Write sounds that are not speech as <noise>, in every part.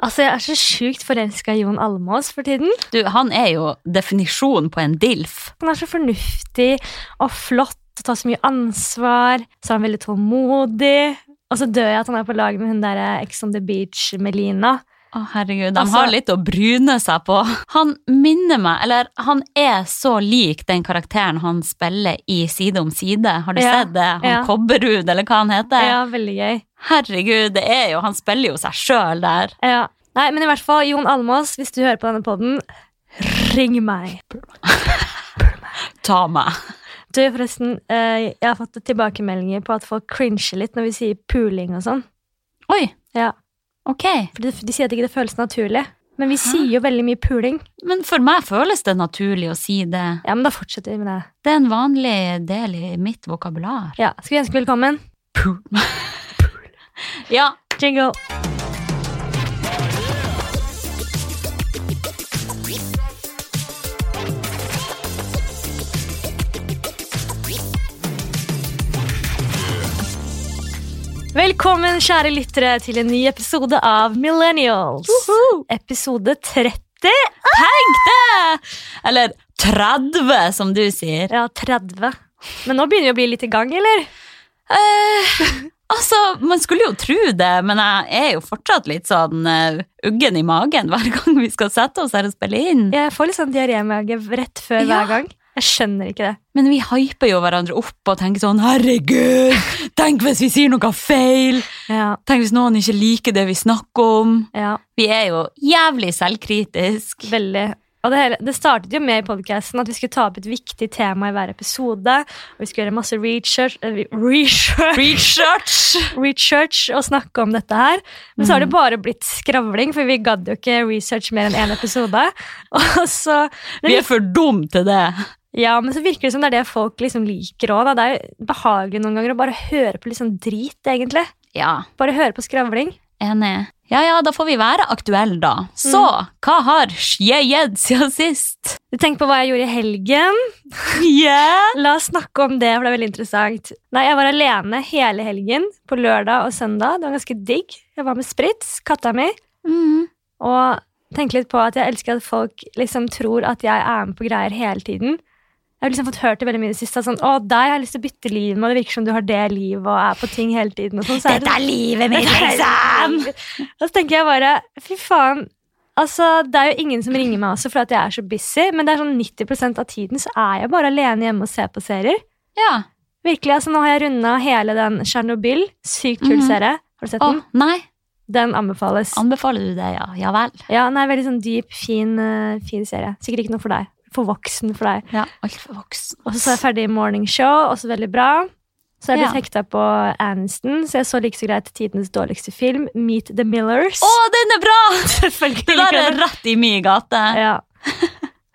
Altså, jeg er så sjukt forelska i Jon Almås for tiden. Du, han er jo definisjonen på en DILF. Han er så fornuftig og flott og tar så mye ansvar. Så er han veldig tålmodig. Og så dør jeg at han er på lag med hun derre Ex on the Beach, Melina. Å, herregud, de Altså- har litt å bryne seg på. <laughs> Han minner meg, eller han er så lik den karakteren han spiller i Side om side. Har du Ja, sett det? Han ja. Kobberud, eller hva han heter. Ja, veldig gøy. Herregud, det er jo, han spiller jo seg sjøl der. Ja. Nei, men i hvert fall, Jon Almås, hvis du hører på denne poden, ring meg. Ta meg. Du, forresten, eh, jeg har fått tilbakemeldinger på at folk cringer litt når vi sier puling og sånn. Oi, Ja, ok. for de, de sier at ikke det føles naturlig. Men vi Hæ? sier jo veldig mye puling. Men for meg føles det naturlig å si det. Ja, men da fortsetter vi med det. Det er en vanlig del i mitt vokabular. Ja, Skal vi ønske velkommen? Pul. Ja, Jingle. Velkommen, kjære lyttere, til en ny episode av Millennials. Episode 30. eller 30, som du sier. Ja, 30. Men nå begynner vi å bli litt i gang, eller? Eh, altså, man skulle jo tro det, men jeg er jo fortsatt litt sånn eh, uggen i magen hver gang vi skal sette oss her og spille inn. Jeg får litt sånn diarémage rett før Ja. hver gang. Jeg skjønner ikke det. Men vi hyper jo hverandre opp og tenker sånn, herregud, tenk hvis vi sier noe feil, Ja, tenk hvis noen ikke liker det vi snakker om. ja. Vi er jo jævlig selvkritisk. Veldig. Og det, hele, det startet jo med i podcasten at vi skulle ta opp et viktig tema i hver episode. Og vi skulle gjøre masse research, eh, research, <laughs> Research! research og snakke om dette her. Men så har det bare blitt skravling, for vi gadd jo ikke research mer enn én episode. <laughs> Og så, Vi er for dum til det. ja, men så virker det som det er det folk liksom liker òg. Det er jo behagelig noen ganger å bare høre på litt sånn drit, egentlig. Ja, Bare høre på skravling. enig. Ja, ja, da får vi være aktuelle da. Så, hva har skje gjedd siden sist? Tenk på hva jeg gjorde i helgen. Yeah! La oss snakke om det, for det er veldig interessant. Nei, Jeg var alene hele helgen, på lørdag og søndag. Det var ganske digg. Jeg var med Spritz, katta mi, Mm. og tenkte litt på at jeg elsker at folk liksom tror at jeg er med på greier hele tiden. Jeg har liksom fått hørt det veldig mye i det siste. at Sånn, 'Å, deg har jeg lyst til å bytte liv med, og det virker som du har det livet og er på ting hele tiden.' Og sånn, så er det Dette er <laughs> livet mitt, sånn- liksom! Og så tenker jeg bare, fy faen. Altså, Det er jo ingen som ringer meg også for at jeg er så busy, men det er sånn 90 av tiden så er jeg bare alene hjemme og ser på serier. Ja. Virkelig, altså Nå har jeg runda hele den Tsjernobyl. Sykt kul Mhm. serie. Har du sett Å, den? nei, Den anbefales. anbefaler du det, ja. Ja vel. ja, den er Veldig sånn dyp, fin, eh, fin serie. Sikkert ikke noe for deg. For voksen for deg. Ja, alt for voksen. Og så så jeg ferdig Morning Show, også veldig bra. Så er jeg blitt Ja. hekta på Aniston, så jeg så like så greit tidenes dårligste film, Meet the Millers. Å, den <laughs> er bra! Selvfølgelig. Det der er rett i min gate. <laughs> ja.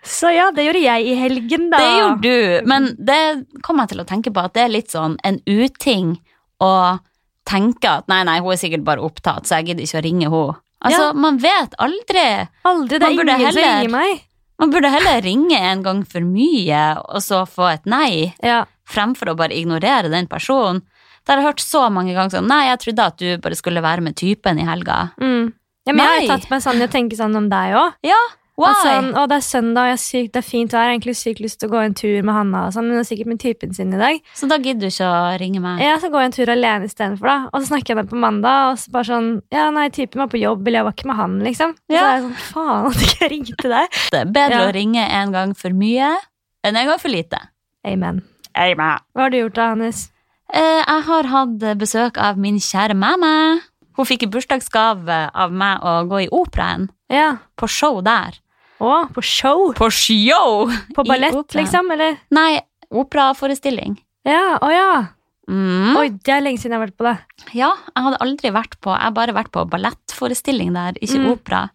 Så ja, det gjorde jeg i helgen, da. Det gjorde du, men det kom jeg til å tenke på at det er litt sånn en uting å tenke at nei, nei, hun er sikkert bare opptatt, så jeg gidder ikke å ringe henne. Altså, Ja. man vet aldri. Aldri. Det Man er burde ingen som heller- ringer meg. Man burde heller ringe en gang for mye, og så få et nei, Ja. fremfor å bare ignorere den personen. Der har jeg hørt så mange ganger sånn, nei, jeg trodde at du bare skulle være med typen i helga. Mm. ja men jeg har jo Nei. tatt meg sånn i å tenke sånn om deg òg. Ja, why? At sånn, å, det er søndag, jeg er syk, det er fint vær. Jeg har egentlig sykt lyst til å gå en tur med Hanna. Og sånn, men hun er sikkert med typen sin i dag. så da gidder du ikke å ringe meg. Ja, så går jeg en tur alene istedenfor, da. Og så snakker jeg med henne på mandag, og så bare sånn Ja, nei, typen var på jobb, eller jeg var ikke med han, liksom. Og Så Ja. er jeg sånn, faen <laughs> at ikke jeg ringte deg. Det er bedre Ja. å ringe en gang for mye enn en gang for lite. Amen. Amen. Hva har du gjort da, Hannes? Eh, Jeg har hatt besøk av min kjære mamma. Hun fikk i bursdagsgave av meg å gå i operaen. Ja. På show der. Å, på show? På show? På I ballett, opera. liksom? Eller? Nei, operaforestilling. Ja, å ja. Mm. Oi, det er lenge siden jeg har vært på det. Ja, jeg hadde aldri vært på Jeg har bare vært på ballettforestilling der, ikke Mm. opera.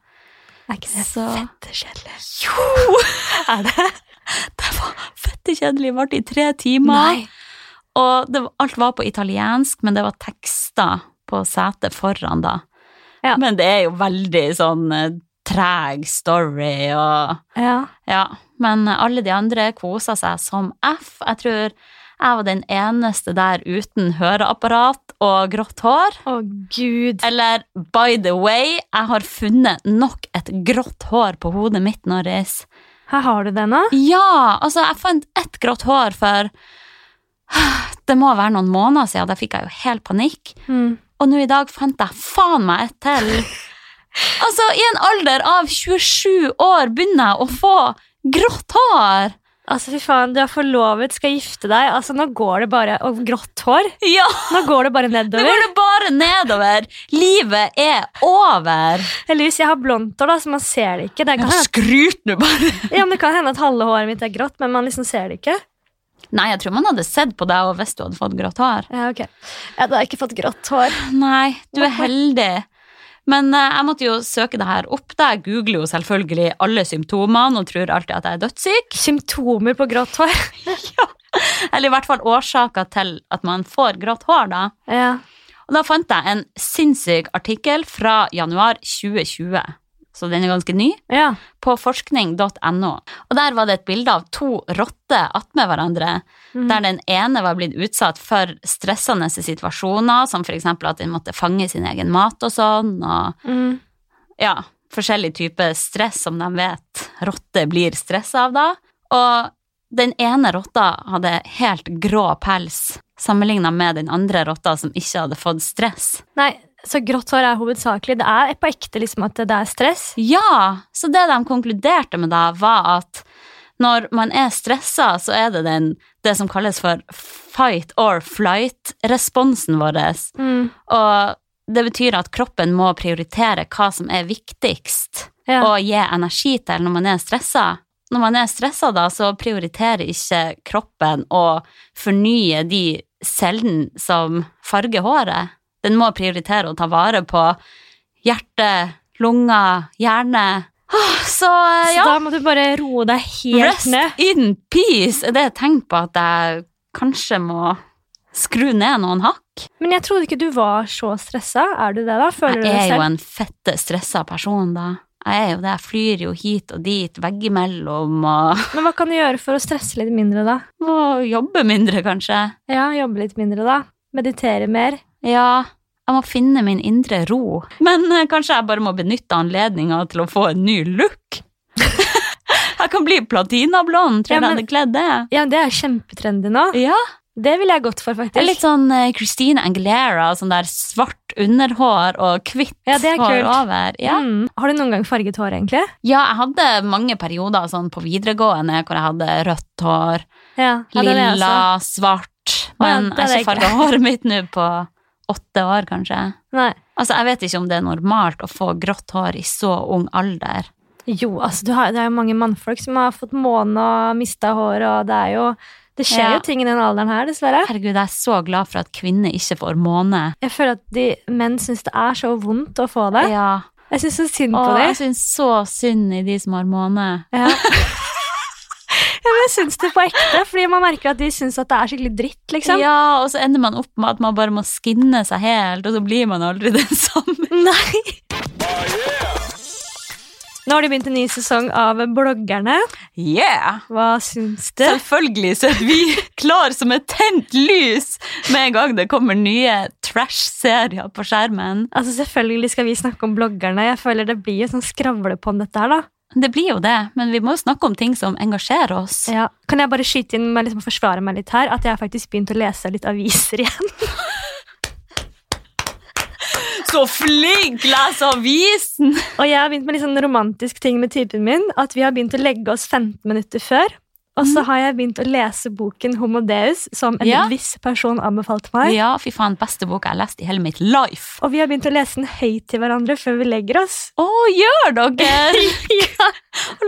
Er ikke det Så- fette kjedelig? Jo! Er det? Det var fette kjedelig. Varte i tre timer. Og det, var- alt var på italiensk, men det var tekster på setet foran, da. Ja. Men det er jo veldig sånn eh, treg story og Ja. Ja, men alle de andre kosa seg som F. Jeg tror Jeg var den eneste der uten høreapparat og grått hår. Å, gud. Eller by the way, jeg har funnet nok et grått hår på hodet mitt, Norris. Her har du det nå. Ja, altså, jeg fant ett grått hår for <sighs> Det må være noen måneder siden, da fikk jeg jo helt panikk. Mm. Og nå i dag fant jeg faen meg et til. <laughs> Altså, i en alder av 27 år begynner jeg å få grått hår! Altså, fy faen, du er forlovet, skal gifte deg. Altså, nå går det bare Og grått hår. Ja! Nå går det bare <laughs> Nå nedover. går det bare nedover. Livet er over. Heldigvis, jeg har blondt hår, da, så man ser det ikke. Det kan, hende, Skryt nå bare. ja, men det kan hende at halve håret mitt er grått, men man liksom ser det ikke. Nei, jeg tror man hadde sett på deg og hvis du hadde fått grått hår. Ja, ok. Ja, da har jeg ikke fått grått hår. Nei, du er heldig. Men eh, jeg måtte jo søke det her opp. da. Jeg googler jo selvfølgelig alle symptomene og tror alltid at jeg er dødssyk. Symptomer på grått hår. Eller i hvert fall årsaker til at man får grått hår, da. <laughs> Ja. Og da fant jeg en sinnssyk artikkel fra januar 2020, så den er ganske ny, ja. på forskning.no. Og der var det et bilde av to rotter attmed hverandre, Mhm. der den ene var blitt utsatt for stressende situasjoner, som f.eks. at den måtte fange sin egen mat og sånn, og Mm. ja, forskjellig type stress som de vet rotter blir stressa av da. Og den ene rotta hadde helt grå pels sammenligna med den andre rotta som ikke hadde fått stress. Nei, så grått hår er hovedsakelig. Det er på ekte liksom at det er stress. Ja, så det de konkluderte med da, var at når man er stressa, så er det den, det som kalles for fight or flight-responsen vår. Mm. Og det betyr at kroppen må prioritere hva som er viktigst. Ja. å gi energi til når man er stressa. Når man er stressa, da, så prioriterer ikke kroppen å fornye de cellene som farger håret. Den må prioritere å ta vare på hjerte, lunger, hjerne. Åh, Så eh, Så ja, da må du bare roe deg helt rest ned. in peace er det et tegn på at jeg kanskje må skru ned noen hakk. Men jeg trodde ikke du var så stressa. Er du det, da? Føler du jeg det er jo selv? en fette stressa person, da. Jeg er jo det. Jeg flyr jo hit og dit, veggimellom og Men hva kan du gjøre for å stresse litt mindre, da? Må jobbe mindre, kanskje. Ja, jobbe litt mindre, da. Meditere mer. Ja, jeg må finne min indre ro. Men eh, kanskje jeg bare må benytte anledninga til å få en ny look? <laughs> jeg kan bli platinablond, tror Ja, jeg jeg men- hadde kledd det. Ja, det er kjempetrendy nå. Ja, Det ville jeg gått for, det er faktisk. Litt sånn eh, Christina Angelera, sånn der svart underhår og hvitt Ja, det er hår kult. over. Ja. Mm. Har du noen gang farget hår, egentlig? ja, jeg hadde mange perioder sånn på videregående hvor jeg hadde rødt hår, Ja, ja, det er det jeg lilla, også. svart, Å ja, men det er det jeg har ikke ikke. farga håret mitt nå på åtte år, kanskje. Nei. Altså, Jeg vet ikke om det er normalt å få grått hår i så ung alder. Jo, altså, du har, det er jo mange mannfolk som har fått måne og mista hår, og det er jo Det skjer Ja. jo ting i den alderen her, dessverre. Herregud, jeg er så glad for at kvinner ikke får måne. Jeg føler at de menn syns det er så vondt å få det. Ja. Jeg syns så synd Å, på dem. jeg syns så synd i de som har måne. Ja. <laughs> ja, men jeg syns det på ekte, fordi man merker at de syns at det er skikkelig dritt, liksom. Ja, og så ender man opp med at man bare må skinne seg helt, og så blir man aldri den <laughs> <laughs> samme. Nei. Nå har de begynt en ny sesong av Bloggerne. Yeah! Hva syns du? Selvfølgelig så er vi klar som et tent lys med en gang det kommer nye trash-serier på skjermen. Altså Selvfølgelig skal vi snakke om bloggerne. Jeg føler Det blir jo sånn skravlepånd, dette her. da. Det blir jo det, men vi må jo snakke om ting som engasjerer oss. Ja. Kan jeg bare skyte inn med liksom, å forsvare meg litt her? At jeg har faktisk begynt å lese litt aviser <laughs> igjen. Så flink! Les avisen! Og jeg har begynt med litt sånn romantisk ting med typen min. At vi har begynt å legge oss 15 minutter før. Og så har jeg begynt å lese boken Homo Deus, som en Mm. Ja. viss person anbefalte meg. Ja, fy faen, beste boka jeg har lest i hele mitt life. Og vi har begynt å lese den høyt til hverandre før vi legger oss. Å, gjør dere? <laughs> ja.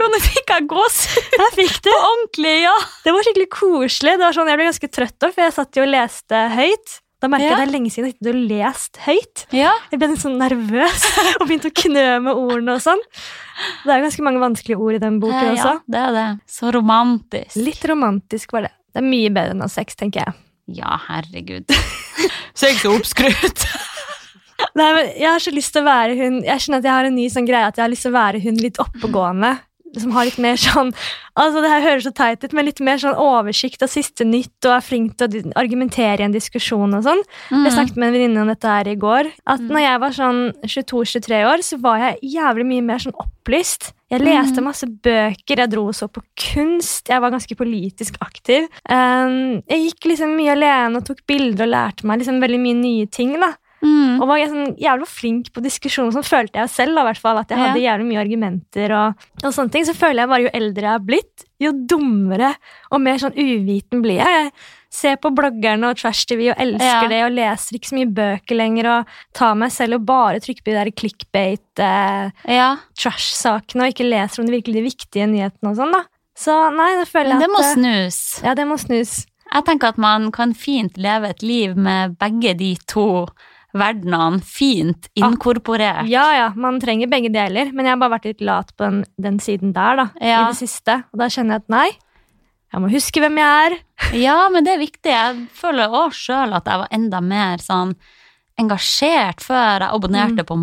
nå fikk jeg <laughs> gåsehud Der fikk du! på ordentlig, ja. Det var skikkelig koselig. Det var sånn, Jeg ble ganske trøtt òg, for jeg satt jo og leste høyt. Da merket Ja. jeg at det er lenge siden jeg ikke har lest høyt. Ja, Jeg ble litt sånn nervøs <laughs> og begynte å knø med ordene og sånn. Det er ganske mange vanskelige ord i den boken eh, ja også. det er det. Så romantisk. Litt romantisk var det. Det er mye bedre enn å ha sex, tenker jeg. Ja, herregud. <laughs> Sex og oppskrytt. Nei, men jeg har så lyst til å være hun Jeg skjønner at jeg har en ny sånn greie at jeg har lyst til å være hun litt oppegående. som har litt mer sånn altså Det her høres så teit ut, men litt mer sånn oversikt av siste nytt, og er flink til å di- argumentere i en diskusjon og sånn. Jeg snakket med en venninne om dette her i går. At Mm. når jeg var sånn 22-23 år, så var jeg jævlig mye mer sånn opplyst. Jeg leste Mm. masse bøker, jeg dro og så på kunst, jeg var ganske politisk aktiv. Um, jeg gikk liksom mye alene og tok bilder og lærte meg liksom veldig mye nye ting. da. Mm. Og var jeg sånn jævlig flink på diskusjon, sånn følte jeg selv da, i hvert fall, at jeg Ja. hadde jævlig mye argumenter og, og sånne ting. Så føler jeg bare jo eldre jeg har blitt, jo dummere og mer sånn uviten blir jeg. Jeg ser på bloggerne og Trash TV og elsker Ja. det, og leser ikke så mye bøker lenger, og tar meg selv og bare trykker på de der clickbait eh, Ja. trash-sakene, og ikke leser om de virkelig viktige nyhetene og sånn, da. Så nei, da føler jeg Men det må at eh, snus. Ja, det må snus. Jeg tenker at man kan fint leve et liv med begge de to verdenene fint inkorporert. Ja, ja, man trenger begge deler, men jeg har bare vært litt lat på den, den siden der, da, Ja. i det siste. Og da kjenner jeg at nei, jeg må huske hvem jeg er. Ja, men det er viktig. Jeg føler òg sjøl at jeg var enda mer sånn engasjert før. Jeg abonnerte på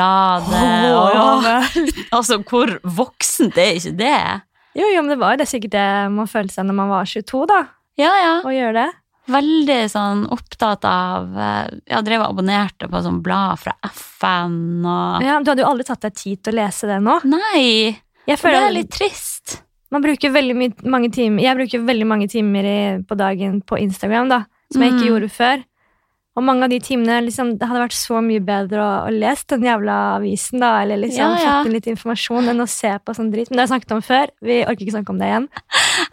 Morgenbladet. Og, altså, hvor voksent er ikke det? Jo, jo, men det var jo det sikkert det man følte seg når man var 22, da, Ja, ja. å gjøre det. Veldig sånn opptatt av eh, Jeg drev og abonnerte på sånn blad fra FN og Ja, du hadde jo aldri tatt deg tid til å lese det nå. Nei! Jeg For det føler er litt trist. man bruker veldig my- mange timer Jeg bruker veldig mange timer i, på dagen på Instagram, da, som jeg ikke Mm. gjorde før. Og mange av de timene liksom, Det hadde vært så mye bedre å, å lese den jævla avisen da, eller liksom Ja, ja. fått inn litt informasjon enn å se på sånn dritt. Men det har jeg snakket om før. Vi orker ikke snakke om det igjen.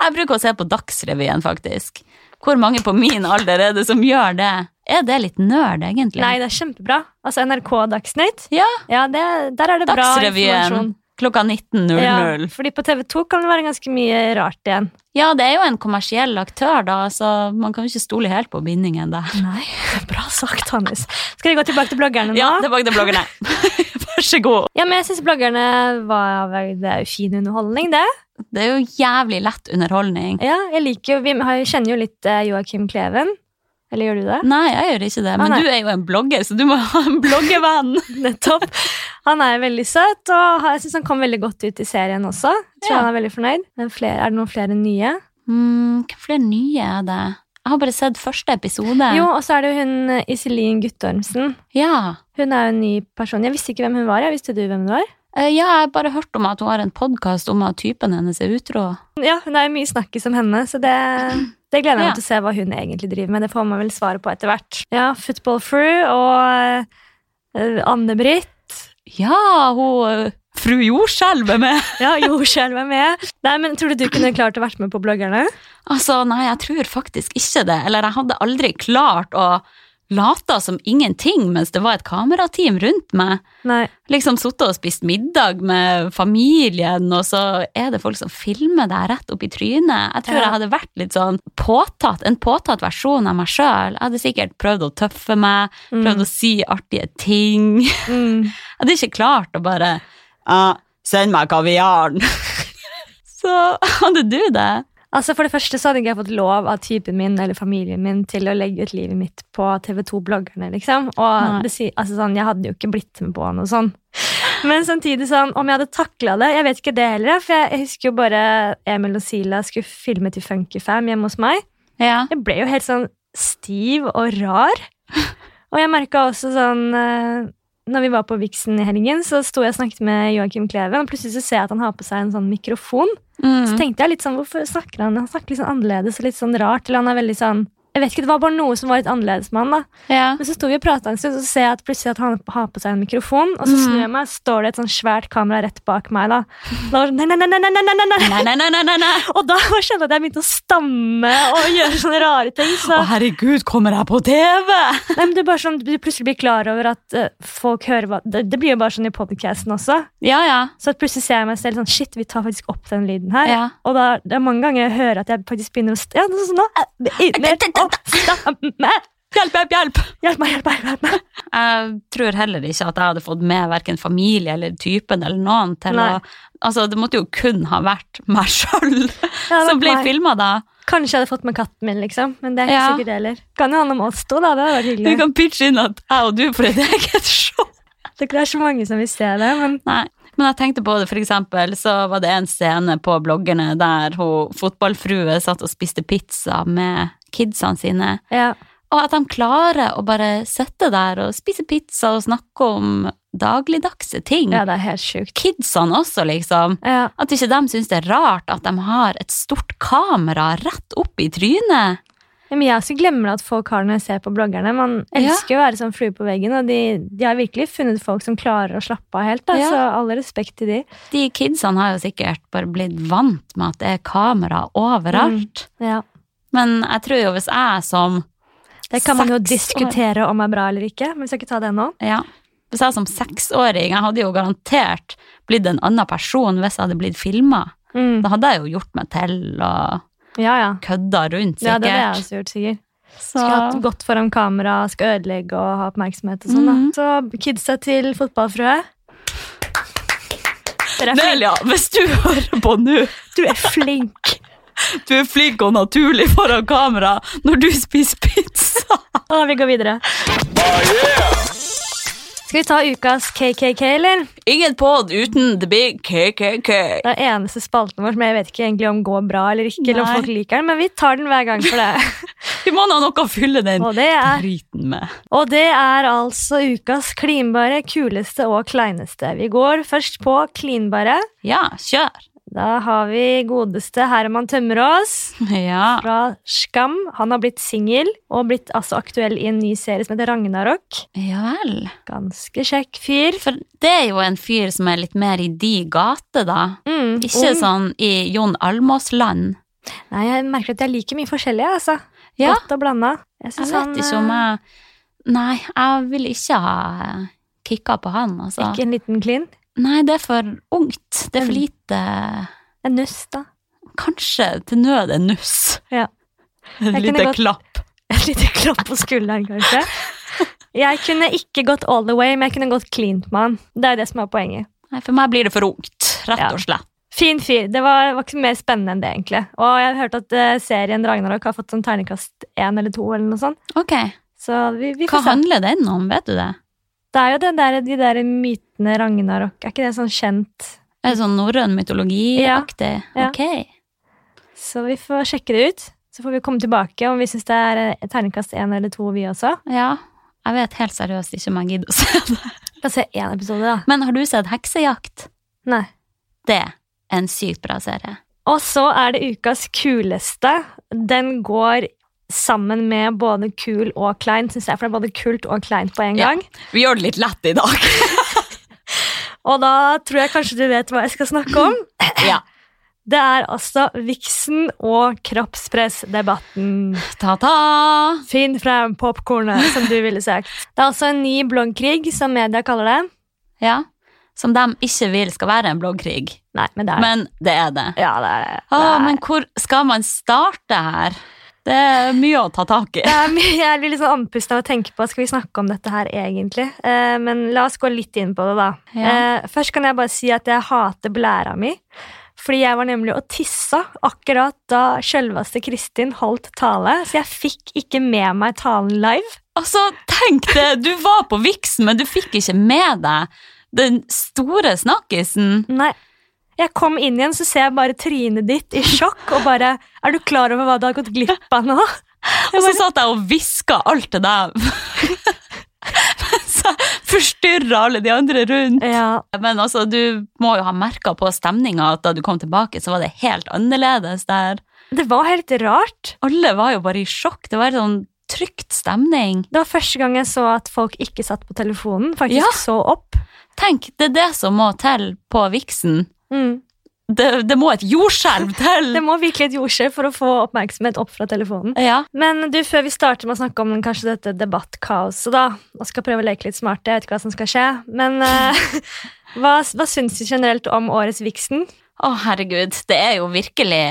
Jeg bruker å se på Dagsrevyen, faktisk. Hvor mange på min alder er det som gjør det? Er det litt nerd, egentlig? Nei, det er kjempebra. Altså NRK Dagsnytt, Ja. ja, det, der er det bra informasjon. Dagsrevyen klokka 19.00. Ja, Ja. fordi på TV2 kan det være ganske mye rart igjen. det er jo en kommersiell aktør, da, så man kan jo ikke stole helt på bindingen der. Nei, <laughs> bra sagt, Hannes. Skal vi gå tilbake til bloggerne nå? Ja, tilbake til <laughs> bloggerne. Vær så god. Ja, men jeg syns bloggerne var vel- det er jo fin underholdning, det. Det er jo jævlig lett underholdning. Ja, jeg liker jo, Vi har, kjenner jo litt eh, Joakim Kleven. Eller gjør du det? Nei, jeg gjør ikke det, Ah, men nei. du er jo en blogger, så du må ha en bloggevenn. <laughs> Nettopp. Han er veldig søt, og har- jeg syns han kom veldig godt ut i serien også. Jeg tror Ja. han er veldig fornøyd. Men flere, er det noen flere nye? Mm, Hvem flere nye er det? Jeg har bare sett første episode. Jo, og så er det jo hun eh, Iselin Guttormsen. Ja. Hun er jo en ny person. Jeg visste ikke hvem hun var. Jeg visste du hvem hun var? Eh, Ja, jeg har bare hørt om at hun har en podkast om at typen hennes er utro. Ja, hun er jo mye snakkis om henne, så det, det gleder jeg meg Ja. til å se hva hun egentlig driver med. Det får man vel svare på etter hvert. Ja, Football Fru og eh, Anne-Britt. Ja, hun eh, Fru Jordskjelv er med! Ja, jordskjelv er med. Nei, men Tror du du kunne klart å vært med på bloggerne? Altså, nei, jeg tror faktisk ikke det. Eller jeg hadde aldri klart å late som ingenting mens det var et kamerateam rundt meg. Nei. Liksom sittet og spist middag med familien, og så er det folk som filmer deg rett opp i trynet. Jeg tror Ja. jeg hadde vært litt sånn påtatt, en påtatt versjon av meg sjøl. Jeg hadde sikkert prøvd å tøffe meg, prøvd å si artige ting. <laughs> Mm. Jeg hadde ikke klart å bare «Ja, Send meg kaviaren! <laughs> Så hadde du det? Altså For det første så hadde ikke jeg fått lov av typen min eller familien min til å legge ut livet mitt på TV2-bloggerne. liksom. Nei. Og det, si- altså sånn, Jeg hadde jo ikke blitt med på noe sånn. Men samtidig sånn, om jeg hadde takla det Jeg vet ikke det heller. For jeg, jeg husker jo bare Emil og Sila skulle filme til Funkyfam hjemme hos meg. Ja. Jeg ble jo helt sånn stiv og rar. Og jeg merka også sånn eh, Når vi var på Vixen i helgen, så sto jeg og snakket med Joakim Kleven, og plutselig så ser jeg at han har på seg en sånn mikrofon. Så Mm. tenkte jeg litt sånn, hvorfor snakker han? Han snakker litt sånn annerledes og litt sånn rart. Eller han er veldig sånn Jeg vet ikke, det var bare noe som var litt annerledes med han, da. ja. Men så sto vi og prata en stund, og så ser jeg at plutselig at han har på seg en mikrofon, og så Mm. snur jeg meg, og står det et sånn svært kamera rett bak meg, da. Da var det sånn, nei, nei, nei, nei, nei, nei, nei, nei. Nei, nei, nei, nei, nei, nei. Og da <laughs> skjønte jeg at jeg begynte å stamme og gjøre sånne rare ting. Så Å, herregud, kommer jeg på TV? Nei, men det er bare sånn, Du plutselig blir klar over at eh, folk hører hva Det, det blir jo bare sånn i podcasten også. Ja, ja. Så at plutselig ser jeg meg selv sånn Shit, vi tar faktisk opp den lyden her. Ja. Og da, det er mange ganger jeg hører at jeg faktisk begynner å st Ja, det er sånn nå eh, i- mer- å, stamme. Hjelp, hjelp, hjelp! Hjelp meg, hjelp meg! hjelp meg Jeg tror heller ikke at jeg hadde fått med verken familie eller typen eller noen til Nei. å Altså, det måtte jo kun ha vært meg <laughs> sjøl hadde vært som ble meg. filma, da. Kanskje jeg hadde fått med katten min, liksom. Men det er ikke Ja. sikkert det heller. Kan jo handle om oss to, da. Det hadde vært Du hyggelig. kan pitche inn at jeg og du får et eget show. Det er ikke det er så mange som vil se det, men Nei. Men Men jeg tenkte på det, for eksempel, så var det en scene på bloggerne der hun fotballfrue satt og spiste pizza med kidsene sine, Ja. og at de klarer å bare sitte der og spise pizza og snakke om dagligdagse ting. ja, det er helt sjukt. Kidsene også, liksom. Ja. At ikke de syns det er rart at de har et stort kamera rett opp i trynet. Ja, Men jeg også glemmer at folk har det når jeg ser på bloggerne. Man elsker å være sånn flue på veggen, og de, de har virkelig funnet folk som klarer å slappe av helt. Da, Ja. Så all respekt til de. De kidsene har jo sikkert bare blitt vant med at det er kamera overalt. Ja. Men jeg tror jo hvis jeg som Det kan man jo Seks år. diskutere om er bra eller ikke, men vi skal ikke ta det nå. Ja. Hvis jeg som seksåring Jeg hadde jo garantert blitt en annen person hvis jeg hadde blitt filma. Mm. Da hadde jeg jo gjort meg til og Ja, ja. kødda rundt, Ja, sikkert. det hadde jeg også gjort, sikkert. Så Skulle hatt godt foran kamera, skal ødelegge og ha oppmerksomhet og sånn. da. Mhm. Så kidsa til fotballfrue. Dere er flinke. Delia, hvis du hører på nå, Du er flink. du er flink og naturlig foran kamera når du spiser pizza. Å, vi går videre. Skal vi ta ukas KKK, eller? <laughs> Ingen pod uten the big KKK. Det er eneste spalten vår som jeg vet ikke egentlig om går bra eller ikke, eller om Nei. folk liker den, men vi tar den hver gang for det. Vi må nå ha noe å fylle den Og det er, driten med. og det er altså ukas klinbare, kuleste og kleineste. Vi går først på klinbare. Ja, kjør. Da har vi godeste Herman Tømmerås Ja. fra Skam. Han har blitt singel og blitt altså aktuell i en ny serie som heter Ragnarok. ja vel. Ganske kjekk fyr. For det er jo en fyr som er litt mer i de gater, da. Mm, Ikke ung. sånn i Jon Almås-land. Nei, jeg merker at jeg liker mye forskjellig, jeg, altså. Ja, Godt og blanda. jeg vet ikke eh, om jeg Nei, jeg vil ikke ha eh, kicka på han, altså. Ikke en liten klin. Nei, det er for ungt. Det er for Mm. lite En nuss, da. Kanskje til nød en nuss. Ja. Et Jeg kunne lite godt- klapp. Et lite klapp på skulderen, kanskje. Jeg kunne ikke gått all the way, men jeg kunne gått cleant med han. Det er det som er poenget. Nei, for meg blir det for ungt, rett Ja. og slett. Fin fyr. Det var, var ikke mer spennende enn det, egentlig. Og jeg har hørt at eh, serien Ragnarok har fått sånn terningkast én eller to, eller noe sånt. Ok, Så vi, vi Hva får se. handler den om, vet du det? Det er jo den der, de der mytene Ragnarok. Er ikke det sånn kjent? Er det sånn norrøn mytologi-aktig? Ja. Ok. Så vi får sjekke det ut. Så får vi komme tilbake om vi syns det er eh, terningkast én eller to, vi også. Ja. Jeg vet helt seriøst ikke om jeg gidder å se det. <laughs> Bare se én episode, da. Men har du sett Heksejakt? Nei. Det er en sykt bra serie. Og så er det ukas kuleste. Den går sammen med både kul og klein, synes jeg, for det er både kult og kleint på en Ja. gang. Vi gjør det litt lett i dag. <laughs> Og da tror jeg kanskje du vet hva jeg skal snakke <clears throat> om. Ja. Det er altså viksen og kroppspressdebatten. Ta-ta! Finn frem popkornet, som du ville sagt. Det er altså en ny bloggkrig, som media kaller det. Ja. Som de ikke vil skal være en bloggkrig. Nei, men det er det. Men det er det. Ja, det er det. Å, Det er- Ah, men hvor skal man starte her? Det er mye å ta tak <laughs> i. Det er mye, jeg blir litt sånn andpusten av å tenke på skal vi snakke om dette her egentlig. Eh, men la oss gå litt inn på det, da. Ja. Eh, først kan jeg bare si at jeg hater blæra mi. Fordi jeg var nemlig og tissa akkurat da sjølveste Kristin holdt tale. Så jeg fikk ikke med meg talen live. <laughs> Altså, tenk det! Du var på Vixen, men du fikk ikke med deg den store snakkisen. Nei. Jeg kom inn igjen, så ser jeg bare trynet ditt i sjokk og bare Er du klar over hva du har gått glipp av <laughs> nå? Og så satt jeg og hviska alt til <laughs> deg. Mens jeg forstyrra alle de andre rundt. Ja, Men altså, du må jo ha merka på stemninga at da du kom tilbake, så var det helt annerledes der. Det var helt rart. Alle var jo bare i sjokk. Det var en sånn trygt stemning. Det var første gang jeg så at folk ikke satt på telefonen. Faktisk Ja. så opp. Tenk, det er det som må til på Vixen. Mm. Det, det må et jordskjelv til! Det må virkelig et jordskjelv for å få oppmerksomhet opp fra telefonen. Ja. Men du, før vi starter med å snakke om den, kanskje dette debattkaoset, da, og skal prøve å leke litt smarte, jeg vet ikke hva som skal skje, men eh, <laughs> hva, hva syns du generelt om årets Vixen? Å, herregud. Det er jo virkelig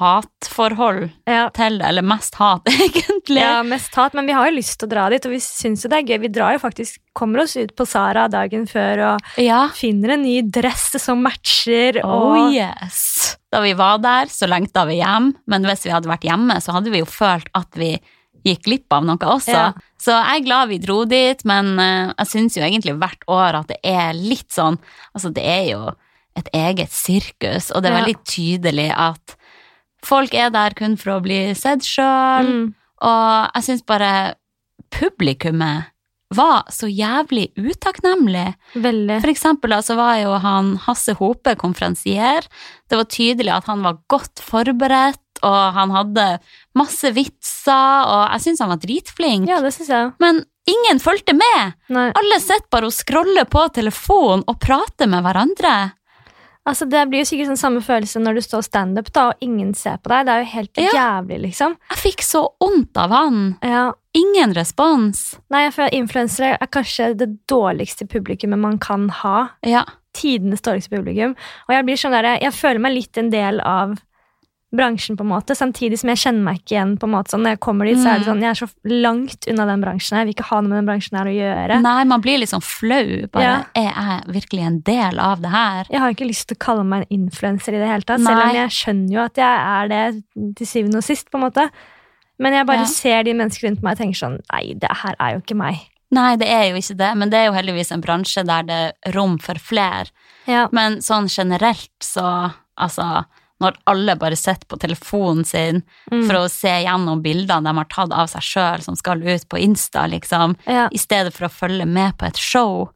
elsk-hat-forhold Ja. til det, eller mest hat, <laughs> egentlig. ja, mest hat, men vi har jo lyst til å dra dit, og vi syns jo det er gøy. Vi drar jo faktisk, kommer oss ut på Sara dagen før og ja. finner en ny dress som matcher, Oh og yes! Da vi var der, så lengta vi hjem, men hvis vi hadde vært hjemme, så hadde vi jo følt at vi gikk glipp av noe også. Ja. Så jeg er glad vi dro dit, men eh, jeg syns jo egentlig hvert år at det er litt sånn Altså, det er jo et eget sirkus, og det er Ja. veldig tydelig at folk er der kun for å bli sett sjøl, Mm. og jeg syns bare publikummet var så jævlig utakknemlig. Veldig. For eksempel da, så var jo han Hasse Hope konferansier. Det var tydelig at han var godt forberedt, og han hadde masse vitser, og jeg syns han var dritflink. Ja, det syns jeg. Men ingen fulgte med! Nei. Alle sitter bare og scroller på telefonen og prater med hverandre. Altså, det blir jo sikkert sånn samme følelse når du står standup, da, og ingen ser på deg. Det er jo helt Ja. jævlig, liksom. Jeg fikk så vondt av han. Ja. Ingen respons. Nei, jeg føler at influensere er kanskje det dårligste publikummet man kan ha. Ja, Tidenes dårligste publikum. Og jeg blir sånn der, jeg føler meg litt en del av bransjen, på en måte, samtidig som jeg kjenner meg ikke igjen. på en måte. Sånn, når jeg kommer dit, så er det sånn, jeg er så langt unna den bransjen her. Jeg vil ikke ha noe med den bransjen her å gjøre. Nei, man blir litt sånn flau. Ja. Bare, Er jeg virkelig en del av det her? Jeg har ikke lyst til å kalle meg en influenser i det hele tatt, selv Nei. om jeg skjønner jo at jeg er det til syvende og sist, på en måte. Men jeg bare Ja. ser de menneskene rundt meg og tenker sånn Nei, det her er jo ikke meg. Nei, det er jo ikke det, men det er jo heldigvis en bransje der det er rom for flere. Ja. Men sånn generelt, så altså Når alle bare sitter på telefonen sin Mm. for å se gjennom bildene de har tatt av seg sjøl, som skal ut på Insta, liksom, Ja. i stedet for å følge med på et show.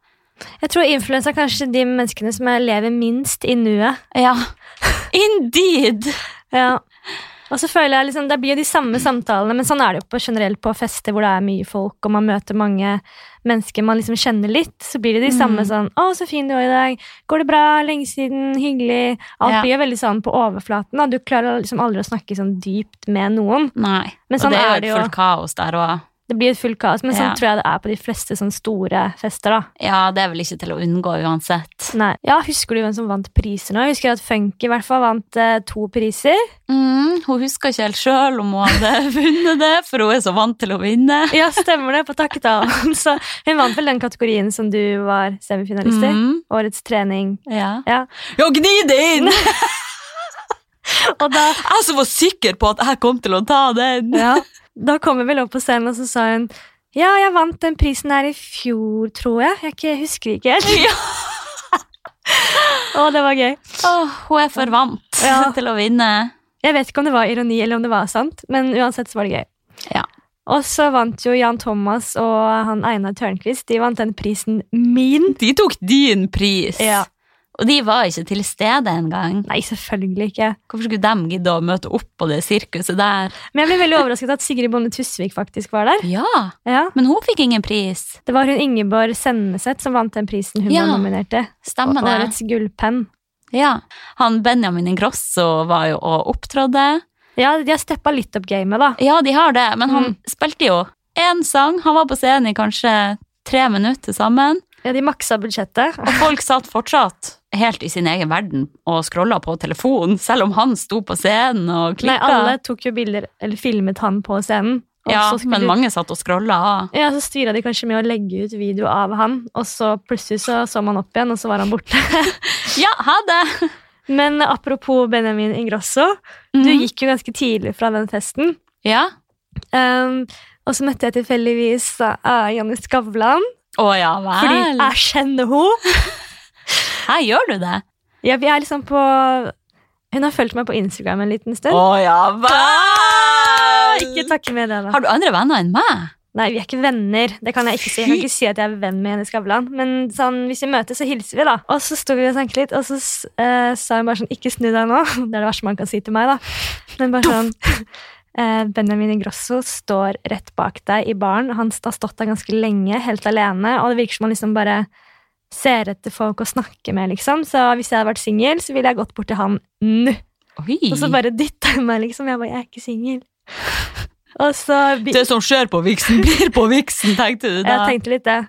Jeg tror influensa er kanskje de menneskene som jeg lever minst i nuet. Ja, <laughs> indeed! Ja. Og så føler jeg liksom, Det blir jo de samme samtalene, men sånn er det jo på, generelt på fester hvor det er mye folk, og man møter mange mennesker man liksom kjenner litt. Så blir det de samme Mm. sånn 'Å, så fin du var i dag. Går det bra? Lenge siden. Hyggelig.' Alt Ja. blir jo veldig sånn på overflaten. Da. Du klarer liksom aldri å snakke sånn dypt med noen. Nei. Men og sånn det er er jo et det jo. fullt kaos der òg. Det blir et fullt kaos, men sånn Ja. tror jeg det er på de fleste sånn store fester. da. Ja, det er vel ikke til å unngå uansett. Nei. Ja, Husker du hvem som vant priser nå? Jeg husker at Funky i hvert fall vant eh, to priser. Mm, hun husker ikke helt sjøl om hun hadde <laughs> vunnet det, for hun er så vant til å vinne. Ja, stemmer det, på takketalen. Så hun vant vel den kategorien som du var semifinalist i. Mm, Årets trening. ja. Ja. ja, gni <laughs> det inn! Og da, Jeg som var sikker på at jeg kom til å ta den! ja, <laughs> da kom hun vel opp på scenen, og så sa hun ja, jeg vant den prisen her i fjor, tror jeg. Jeg ikke, husker ikke helt. <laughs> <laughs> Ja. Å, det var gøy. Åh, hun er for vant Ja. <laughs> til å vinne. Jeg vet ikke om det var ironi eller om det var sant, men uansett så var det gøy. Ja. Og så vant jo Jan Thomas og han Einar Tørnquist de vant den prisen min. De tok din pris. Ja. Og de var ikke til stede engang. Nei, selvfølgelig ikke. Hvorfor skulle de gidde å møte opp på det sirkuset der? Men jeg ble veldig overrasket at Sigrid Bonde Tusvik faktisk var der. Ja, Ja. men hun fikk ingen pris. Det var hun Ingeborg Senneset som vant den prisen hun Ja, var nominert til. Stemmer det? Årets gullpenn. Ja. Han Benjamin Ingrosso var jo og opptrådde. Ja, de har steppa litt opp gamet, da. Ja, de har det, men han Mm. spilte jo én sang. Han var på scenen i kanskje tre minutter til sammen, Ja, De maksa budsjettet. og folk satt fortsatt helt i sin egen verden og scrolla på telefonen, selv om han sto på scenen og <laughs> Nei, klikka. alle tok jo bilder, eller filmet han på scenen. og Ja, så skulle men de- mange satt og scrolla av. Ja, Så styra de kanskje med å legge ut video av han, og så plutselig så, så man opp igjen, og så var han borte. <laughs> Ja, ha det! Men apropos Benjamin Ingrosso, du Mhm. gikk jo ganske tidlig fra den festen. Ja. Um, og så møtte jeg tilfeldigvis uh, Janne Skavlan, Å ja fordi vel. jeg kjenner henne. Her gjør du det. Ja, vi er liksom på Hun har fulgt meg på Instagram en liten stund. ja Ah, vel. Ikke takke med det, da. Har du andre venner enn meg? Nei, vi er ikke venner. Det kan Jeg ikke si Jeg kan Fy. ikke si at jeg er venn med Jenny Skavlan. Men sånn, hvis vi møtes, så hilser vi, da. Og så sto vi og snakket litt, og så s- eh, sa hun bare sånn Ikke snu deg nå. <laughs> Det er det verste man kan si til meg, da. Men bare sånn <laughs> eh, Benjamin Ingrosso står rett bak deg i baren. Han har stått der ganske lenge, helt alene, og det virker som han liksom bare ser etter folk å snakke med, liksom. Så hvis jeg hadde vært singel, så ville jeg gått bort til han nå. Oi. Og så bare dytta hun meg, liksom. Jeg bare, jeg er ikke singel. Og så Det som skjer på viksen, <laughs> blir på viksen, tenkte du da. Jeg tenkte litt det.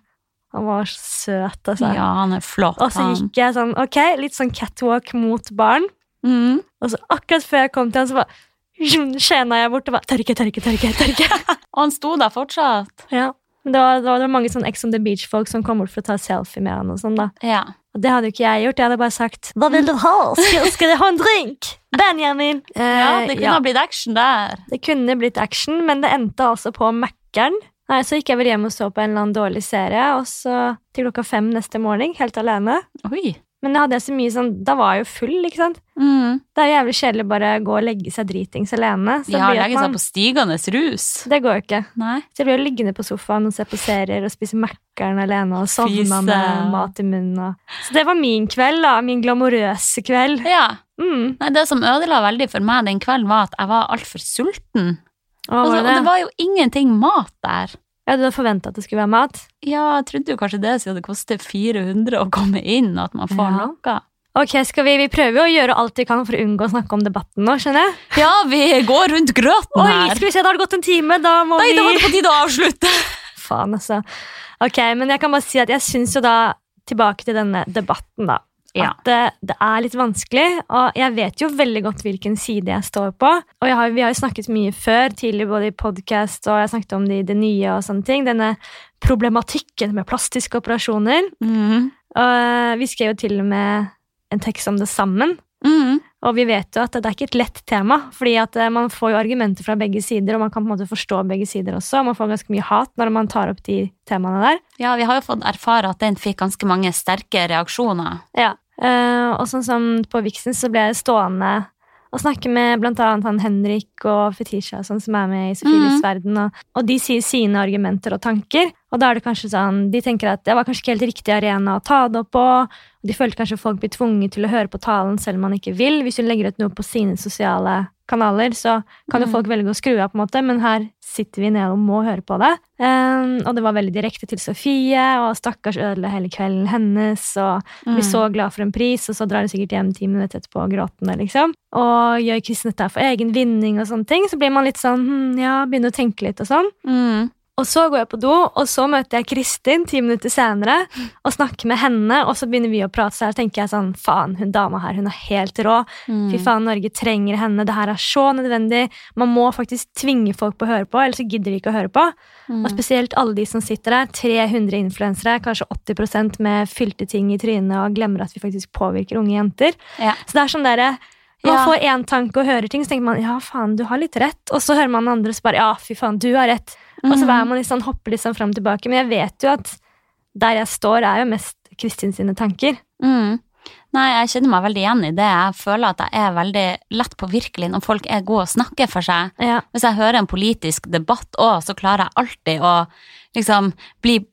Han var så søt, altså. Ja, han er flott, Og så han. gikk jeg sånn, ok, litt sånn catwalk mot barn. Mm. Og så akkurat før jeg kom til han, så bare <laughs> skjena jeg bort og bare tørke, tørke, tørke. tørke. <laughs> Og han sto der fortsatt. ja. Men Det var, det var mange sånn Ex on the Beach-folk som kom bort for å ta selfie med han og sånn, da. Ja. Og det hadde jo ikke jeg gjort. Jeg hadde bare sagt Hva vil du ha? Skal, skal jeg ha en <laughs> drink? Benjamin! Eh, Ja, det kunne ha blitt action der. det kunne blitt action, men det endte altså på Mækkern. Nei, Så gikk jeg vel hjem og så på en eller annen dårlig serie, og så til klokka fem neste morgen, helt alene. Oi. Men da hadde jeg så mye sånn, da var jeg jo full, ikke sant. Mm. Det er jo jævlig kjedelig bare å gå og legge seg dritings alene. Så Ja, det blir at legge seg man- på stigende rus. Det går jo ikke. Nei. Så jeg blir jo liggende på sofaen og se på serier og spise Mækkern alene og Fy sovne med søren. mat i munnen. Og. Så det var min kveld, da. Min glamorøse kveld. Ja. Mm. Nei, det som ødela veldig for meg den kvelden, var at jeg var altfor sulten. Hva Altså, var og det det? var jo ingenting mat der. Ja, du hadde forventa at det skulle være mat? Ja, jeg trodde jo kanskje det siden det koster 400 å komme inn, og at man får Ja. noe. Ok, skal vi, vi prøver jo å gjøre alt vi kan for å unngå å snakke om debatten nå, skjønner jeg? Ja, vi går rundt grøten Oi, her. skal vi se, da har det gått en time, da må Nei, da var vi det på tide å avslutte. Faen, altså. Ok, men jeg kan bare si at jeg syns jo da, tilbake til denne debatten, da, Ja. at eh, det er litt vanskelig, og jeg vet jo veldig godt hvilken side jeg står på. Og jeg har, vi har jo snakket mye før, tidligere både i podkast og jeg snakket om det i Det Nye og sånne ting, denne problematikken med plastiske operasjoner. Mm. Og eh, vi skrev jo til og med en tekst om det sammen. Mm. Og vi vet jo at det er ikke et lett tema, fordi at eh, man får jo argumenter fra begge sider, og man kan på en måte forstå begge sider også, og man får ganske mye hat når man tar opp de temaene der. Ja, vi har jo fått erfare at den fikk ganske mange sterke reaksjoner. Ja. Eh, og sånn som på Vixen så ble jeg stående og snakke med blant annet han Henrik og Fetisha og sånn, som er med i Sofie Mhm. verden, og, og de sier sine argumenter og tanker, og da er det kanskje sånn, de tenker at det var kanskje ikke helt riktig arena å ta det opp på, og de følte kanskje folk blir tvunget til å høre på talen selv om man ikke vil, hvis hun legger ut noe på sine sosiale kanaler, så kan jo Mhm. folk velge å skru av på en måte, men her sitter vi ned og må høre på det. Eh, og det var veldig direkte til Sofie, og stakkars ødela hele kvelden hennes, og Mm. blir så glad for en pris, og så drar hun sikkert hjem ti minutter etterpå gråtende. liksom. Og gjør Kristin dette her for egen vinning, og sånne ting, så blir man litt sånn hm, ja, begynner å tenke litt og sånn. Mm. Og så går jeg på do, og så møter jeg Kristin ti minutter senere og snakker med henne, og så begynner vi å prate, så her tenker jeg sånn faen, hun dama her, hun er helt rå. Mm. Fy faen, Norge trenger henne, det her er så nødvendig. Man må faktisk tvinge folk på å høre på, ellers så gidder de ikke å høre på. Mm. Og spesielt alle de som sitter der, 300 influensere, kanskje 80 med fylte ting i trynet og glemmer at vi faktisk påvirker unge jenter. Ja. Så det er sånn derre man Ja. får én tanke og hører ting, så tenker man ja, faen, du har litt rett. Og så hører man andre og så bare ja, fy faen, du har rett. Og så Mhm. er man litt sånn, hopper litt sånn fram og tilbake. Men jeg vet jo at der jeg står, er jo mest Kristin sine tanker. Mm. Nei, jeg kjenner meg veldig igjen i det. Jeg føler at jeg er veldig lett påvirkelig når folk er gode og snakker for seg. Ja. Hvis jeg hører en politisk debatt òg, så klarer jeg alltid å liksom bli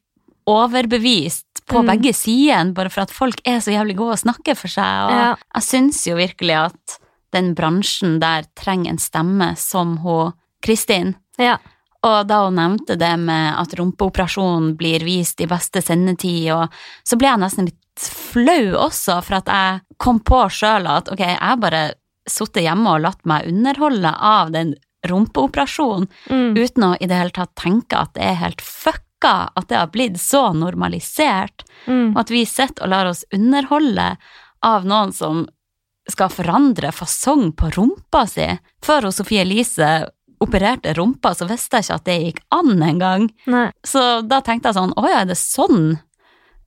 overbevist på Mm. begge sidene, bare for at folk er så jævlig gode og snakker for seg. Og Ja. jeg syns jo virkelig at den bransjen der trenger en stemme som hun Kristin. ja. Og da hun nevnte det med at rumpeoperasjonen blir vist i beste sendetid, og så ble jeg nesten litt flau også, for at jeg kom på sjøl at ok, jeg har bare sittet hjemme og latt meg underholde av den rumpeoperasjonen, Mm. uten å i det hele tatt tenke at det er helt fucka at det har blitt så normalisert, Mm. og at vi sitter og lar oss underholde av noen som skal forandre fasong på rumpa si. Før hun Sofie Elise opererte rumpa, så visste jeg ikke at det gikk an engang. Nei. Så da tenkte jeg sånn, å ja, er det sånn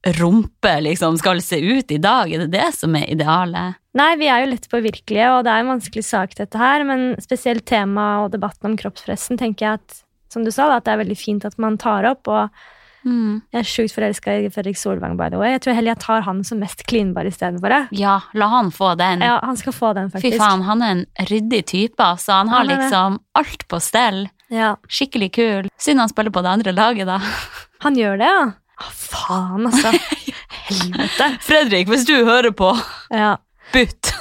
rumpe liksom skal se ut i dag? Er det det som er idealet? Nei, vi er jo lett påvirkelige, og det er en vanskelig sak, dette her. Men spesielt temaet og debatten om kroppspressen tenker jeg at som du sa, da, at det er veldig fint at man tar opp. Og jeg er sjukt forelska i Fredrik Solvang, by the way. Jeg tror heller jeg tar han som mest klinbar istedenfor. jeg. Ja, la han få den. Ja, han skal få den, Mm. Fy faktisk. faen, han er en ryddig type, altså. Han har Han er det. liksom alt på stell. Ja. Skikkelig kul. Synd han spiller på det andre laget, da. <laughs> Han gjør det, ja. Å, faen, altså. Helvete. Fredrik, hvis du hører på, Ja. bytt!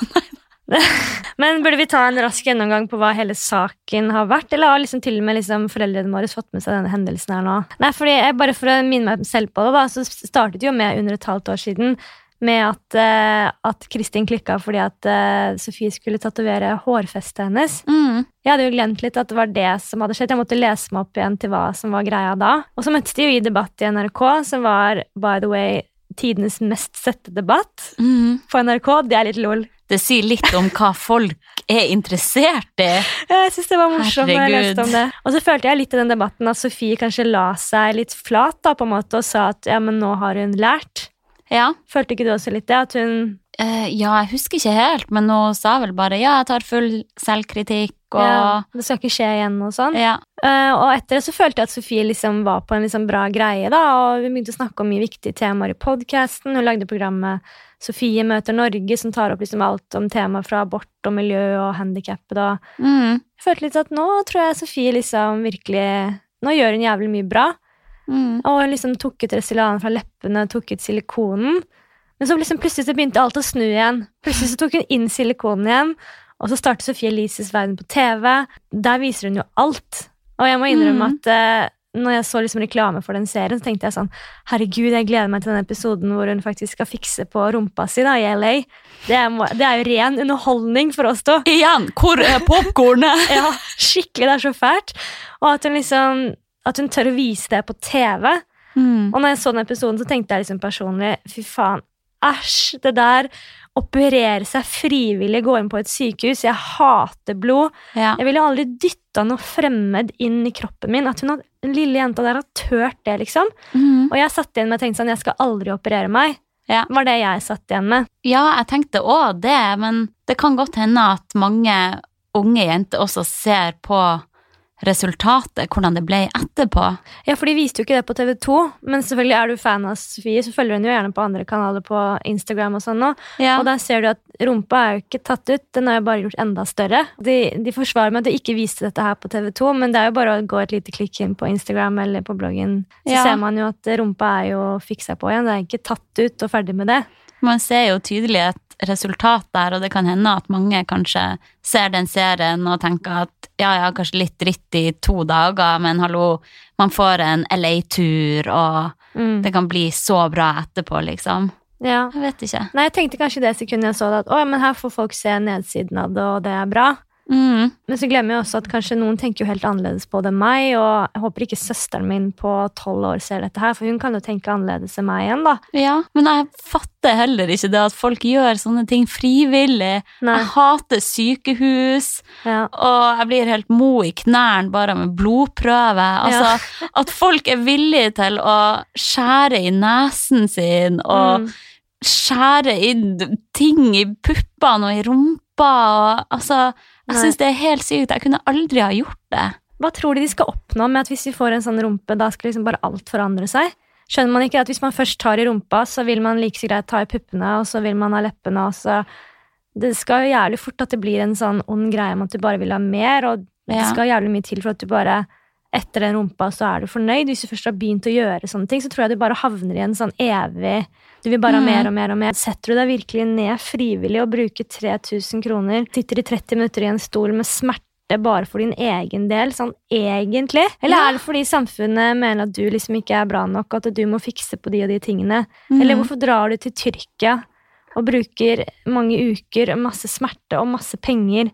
Men burde vi ta en rask gjennomgang på hva hele saken har vært? Eller har liksom til og med liksom foreldrene våre fått med seg denne hendelsen her nå? Nei, fordi jeg, Bare for å minne meg selv på det, da, så startet det jo med under et halvt år siden med at, eh, at Kristin klikka fordi at eh, Sofie skulle tatovere hårfestet hennes. Mm. Jeg hadde jo glemt litt at det var det som hadde skjedd. Jeg måtte lese meg opp igjen til hva som var greia da. Og så møttes de jo i debatt i NRK, som var, by the way, tidenes mest sette debatt Mm. på NRK. Det er litt lol. Det sier litt om hva folk er interessert i. Ja, Jeg synes det var morsomt når jeg Herregud. leste om det. Og så følte jeg litt i den debatten at Sofie kanskje la seg litt flat da, på en måte, og sa at ja, men nå har hun lært. Ja. Følte ikke du også litt det? At hun Eh, ja, jeg husker ikke helt, men hun sa vel bare ja, jeg tar full selvkritikk og ja, Det skal ikke skje igjen og sånn. Ja. Eh, og etter det så følte jeg at Sofie liksom var på en liksom bra greie, da, og vi begynte å snakke om mye viktige temaer i podkasten. Hun lagde programmet Sofie møter Norge, som tar opp liksom alt om temaer fra abort og miljø og handikappede. og Mm, Jeg følte litt at nå tror jeg Sofie liksom virkelig Nå gjør hun jævlig mye bra. mm. Og hun liksom tok ut Restylane fra leppene, tok ut silikonen. Men så liksom plutselig så begynte alt å snu igjen. Plutselig så tok hun inn silikonen igjen. Og så startet Sophie Elises verden på TV. Der viser hun jo alt. Og jeg må innrømme Mm. at eh, når jeg så liksom reklame for den serien, så tenkte jeg sånn Herregud, jeg gleder meg til den episoden hvor hun faktisk skal fikse på rumpa si da, i LA. Det er, må- det er jo ren underholdning for oss to. Igjen, hvor er popkornet? Ja, skikkelig. Det er så fælt. Og at hun liksom At hun tør å vise det på TV. <laughs> mm. Og når jeg så den episoden, så tenkte jeg liksom personlig Fy faen, æsj, det der Operere seg frivillig, gå inn på et sykehus Jeg hater blod Ja. Jeg ville aldri dyttet noe fremmed inn i kroppen min At hun hadde, den lille jenta der har tørt det liksom Mm. Og jeg satt igjen med og tenkte sånn Jeg skal aldri operere meg Ja. Var det jeg satt igjen med ja, jeg tenkte òg det, men det kan godt hende at mange unge jenter også ser på resultatet, hvordan det ble etterpå. Ja, for de viste jo ikke det på TV 2 Men selvfølgelig er du fan av Sofie Så følger hun jo gjerne på andre kanaler på Instagram og sånn nå Ja. Og der ser du at rumpa er jo ikke tatt ut, den er jo bare gjort enda større. De, de forsvarer med at de ikke viste dette her på TV 2, men det er jo bare å gå et lite klikk inn på Instagram eller på bloggen, så Ja. ser man jo at rumpa er jo fiksa på igjen. Det er ikke tatt ut og ferdig med det. Man ser jo tydelig et resultat der, og det kan hende at mange kanskje ser den serien og tenker at ja, ja, kanskje litt dritt i to dager, men hallo, man får en LA-tur, og Mm. det kan bli så bra etterpå, liksom. Ja. Jeg vet ikke. Nei, jeg tenkte kanskje det sekundet jeg så det, at å, men her får folk se nedsiden av det, og det er bra. Mm. Men så glemmer jeg også at kanskje noen tenker jo helt annerledes på det enn meg, og jeg håper ikke søsteren min på tolv år ser dette her, for hun kan jo tenke annerledes enn meg igjen, da. Ja, men jeg fatter heller ikke det at folk gjør sånne ting frivillig. Nei. Jeg hater sykehus. Ja. og jeg blir helt mo i knærne bare med blodprøve. Altså, <laughs> at folk er villige til å skjære i nesen sin, og Mm. skjære i d- ting i puppene og i rumpa. Og, altså, jeg Nei. syns det er helt sykt. Jeg kunne aldri ha gjort det. Hva tror de de skal oppnå med at hvis vi får en sånn rumpe, da skal liksom bare alt forandre seg? Skjønner man ikke at hvis man først tar i rumpa, så vil man like så greit ta i puppene, og så vil man ha leppene, og så Det skal jo jævlig fort at det blir en sånn ond greie om at du bare vil ha mer, og det Ja. skal jævlig mye til for at du bare etter den rumpa, så er du fornøyd. Hvis du først har begynt å gjøre sånne ting, så tror jeg du bare havner i en sånn evig Du vil bare ha Mm. mer og mer og mer. Setter du deg virkelig ned frivillig og bruker 3000 kroner, sitter i 30 minutter i en stol med smerte bare for din egen del, sånn egentlig? Eller Ja. er det fordi samfunnet mener at du liksom ikke er bra nok, og at du må fikse på de og de tingene? Eller Mm. hvorfor drar du til Tyrkia og bruker mange uker, masse smerte og masse penger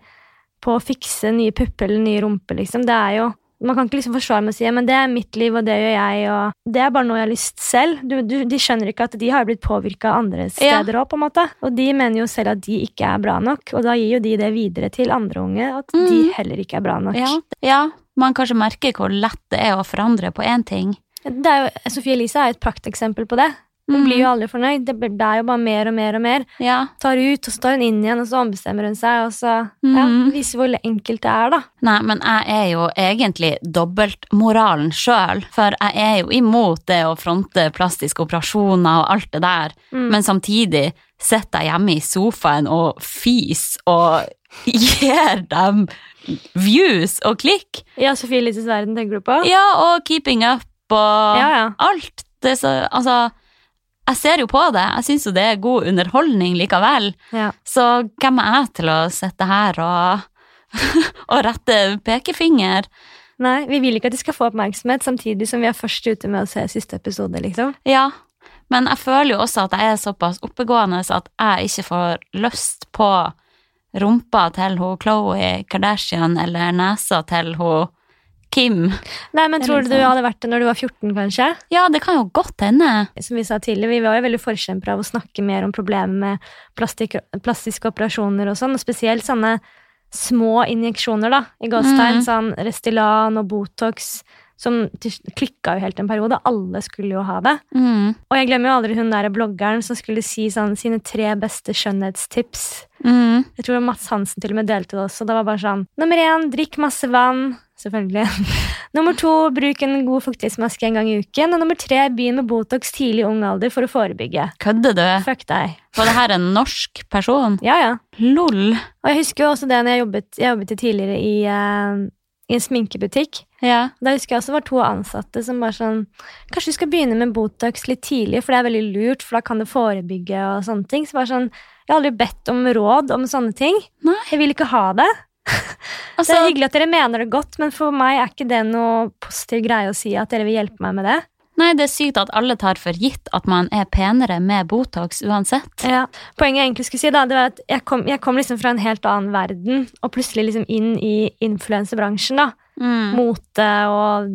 på å fikse nye pupper eller nye rumper, liksom? Det er jo man kan ikke liksom forsvare med å si «Ja, men det er mitt liv, og det gjør jeg. og Det er bare noe jeg har lyst selv. Du, du, de skjønner ikke at de har blitt påvirka andre Ja. steder òg. måte. Og de mener jo selv at de ikke er bra nok, og da gir jo de det videre til andre unge. At de Mhm. heller ikke er bra nok. ja, ja, man kanskje merker hvor lett det er å forandre på én ting. Det er jo, Sophie Elise er et prakteksempel på det. Hun blir jo aldri fornøyd. Det, blir- det er jo bare mer og mer og mer. Ja. tar ut, og så tar hun inn igjen, og så ombestemmer hun seg, og så ja, Mhm. viser hvor enkelt det er, da. Nei, men jeg er jo egentlig dobbeltmoralen sjøl, for jeg er jo imot det å fronte plastiske operasjoner og alt det der, Mm. men samtidig sitter jeg hjemme i sofaen og fis og <laughs> gir dem views og klikk. Ja, Sofie Elises verden tenker du på? Ja, og keeping up og ja. ja. alt. Det er så, altså, jeg ser jo på det, jeg syns jo det er god underholdning likevel. ja. Så hvem er jeg til å sitte her og, <laughs> og rette pekefinger? Nei, vi vil ikke at de skal få oppmerksomhet, samtidig som vi er først ute med å se siste episode, liksom. Ja, men jeg føler jo også at jeg er såpass oppegående så at jeg ikke får lyst på rumpa til hun Khloe Kardashian eller nesa til hun Kim. Nei, men Det er tror litt du du sånn. hadde vært det når du var 14, kanskje? Ja, det kan jo godt hende. Som vi sa tidligere, vi var jo veldig forkjempere av å snakke mer om problemer med plastikk, plastiske operasjoner og sånn, og spesielt sånne små injeksjoner, da, i gåstegn, Mhm. sånn Restylane og Botox. som klikka jo helt en periode. Alle skulle jo ha det. Mm. Og jeg glemmer jo aldri hun der bloggeren som skulle si sånn sine tre beste skjønnhetstips. Mm. Jeg tror Mats Hansen til og med delte det også. Det var bare sånn Nummer én, drikk masse vann. Selvfølgelig. <laughs> Nummer to, bruk en god fuktighetsmaske en gang i uken. Og nummer tre, begynn med Botox tidlig i ung alder for å forebygge. Kødder du? Fuck deg. Var det her en norsk person? Ja, ja. Lol. Og jeg husker jo også det når jeg jobbet, jeg jobbet jo tidligere i, eh, i en sminkebutikk. Ja. Da husker jeg også det var to ansatte som var sånn Kanskje du skal begynne med Botox litt tidlig, for det er veldig lurt, for da kan det forebygge og sånne ting. Så bare sånn Jeg har aldri bedt om råd om sånne ting. Nei. Jeg vil ikke ha det. Det Altså, er hyggelig at dere mener det godt, men for meg er ikke det noe positiv greie å si at dere vil hjelpe meg med det. nei, det er sykt at alle tar for gitt at man er penere med Botox uansett. Ja. Poenget jeg egentlig skulle si, da, det var at jeg kom, jeg kom liksom fra en helt annen verden, og plutselig liksom inn i influensebransjen, da. Mm. mote og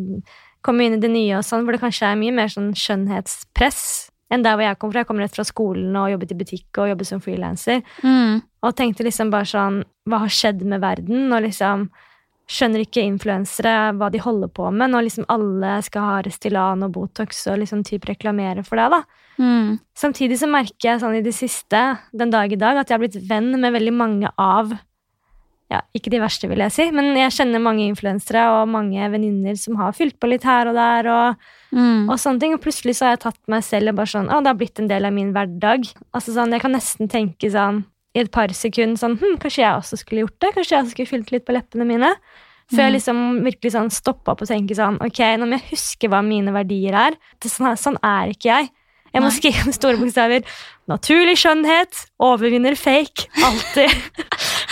komme inn i det nye og sånn, hvor det kanskje er mye mer sånn skjønnhetspress enn der hvor jeg kom fra. Jeg kom rett fra skolen og jobbet i butikk og jobbet som frilanser. Mm. Og tenkte liksom bare sånn Hva har skjedd med verden? Og liksom skjønner ikke influensere hva de holder på med når liksom alle skal ha Restylan og Botox og liksom typ reklamere for det, da. Mm. Samtidig så merker jeg sånn i det siste, den dag i dag, at jeg har blitt venn med veldig mange av ja, Ikke de verste, vil jeg si, men jeg kjenner mange influensere og mange venninner som har fylt på litt her og der. Og, Mm. og sånne ting, og plutselig så har jeg tatt meg selv og bare sånn Å, det har blitt en del av min hverdag. Altså sånn, Jeg kan nesten tenke sånn i et par sekunder sånn Hm, kanskje jeg også skulle gjort det? Kanskje jeg også skulle fylt litt på leppene mine? Før jeg Mm. liksom virkelig sånn stoppa opp og tenker sånn Ok, nå må jeg huske hva mine verdier er. Det, er sånn, her- sånn er ikke jeg. Jeg må Nei. skrive med store bokstaver 'Naturlig skjønnhet overvinner fake'. <laughs> Alltid.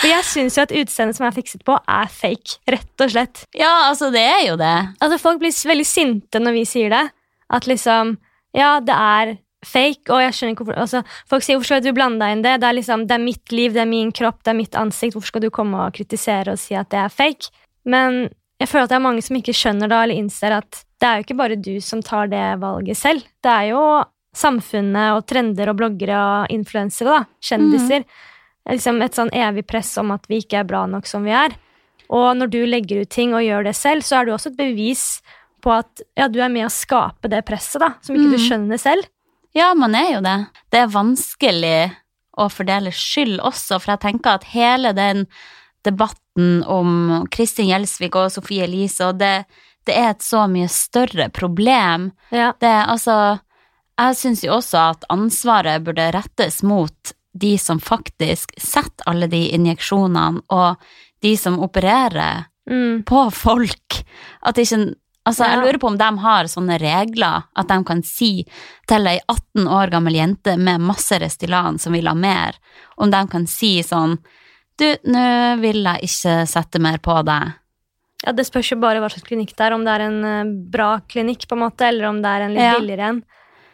For jeg syns jo at utseendet som er fikset på, er fake. Rett og slett. Ja, altså, det er jo det. Altså Folk blir s- veldig sinte når vi sier det. At liksom Ja, det er fake, og jeg skjønner ikke hvorfor altså, Folk sier 'Hvorfor skal du blande deg inn i det?' Det er liksom, det er mitt liv, det er min kropp, det er mitt ansikt. Hvorfor skal du komme og kritisere og si at det er fake? Men jeg føler at det er mange som ikke skjønner det, eller innser at det er jo ikke bare du som tar det valget selv. Det er jo samfunnet og trender og bloggere og influensere, da. Kjendiser. Det er Liksom et sånn evig press om at vi ikke er bra nok som vi er. Og når du legger ut ting og gjør det selv, så er du også et bevis på at ja, du er med å skape det presset, da, som ikke du Mm. skjønner selv. Ja, man er jo det. Det er vanskelig å fordele skyld også, for jeg tenker at hele den debatten om Kristin Gjelsvik og Sofie Elise, og det, det er et så mye større problem. Ja. Det er altså Jeg syns jo også at ansvaret burde rettes mot de som faktisk setter alle de injeksjonene, og de som opererer Mm. på folk. At ikke Altså, Ja. Jeg lurer på om de har sånne regler at de kan si til ei 18 år gammel jente med masse Restylan som vil ha mer, om de kan si sånn Du, nå vil jeg ikke sette mer på deg. ja, Det spørs jo bare hva slags klinikk det er, om det er en eh, bra klinikk, på en måte, eller om det er en litt Ja. billigere en.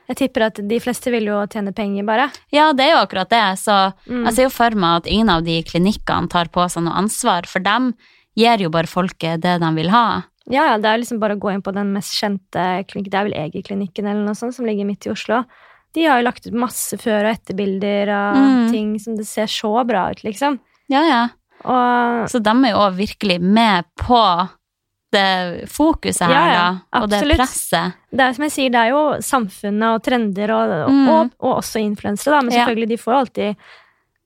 Jeg tipper at de fleste vil jo tjene penger, bare. Ja, det er jo akkurat det. Så Mm. jeg ser jo for meg at ingen av de klinikkene tar på seg noe ansvar, for dem gir jo bare folket det de vil ha. Ja, ja, det er liksom bare å gå inn på den mest kjente klinikken, det er vel Egerklinikken eller noe sånt, som ligger midt i Oslo. De har jo lagt ut masse før- og etterbilder av Mm. ting som det ser så bra ut, liksom. Ja, ja. Og Så de er jo også virkelig med på det fokuset her, Ja, ja, da, og det absolutt. presset. det er jo som jeg sier, det er jo samfunnet og trender og, Mm. og, og også influensere, da. Men Ja. selvfølgelig, de får jo alltid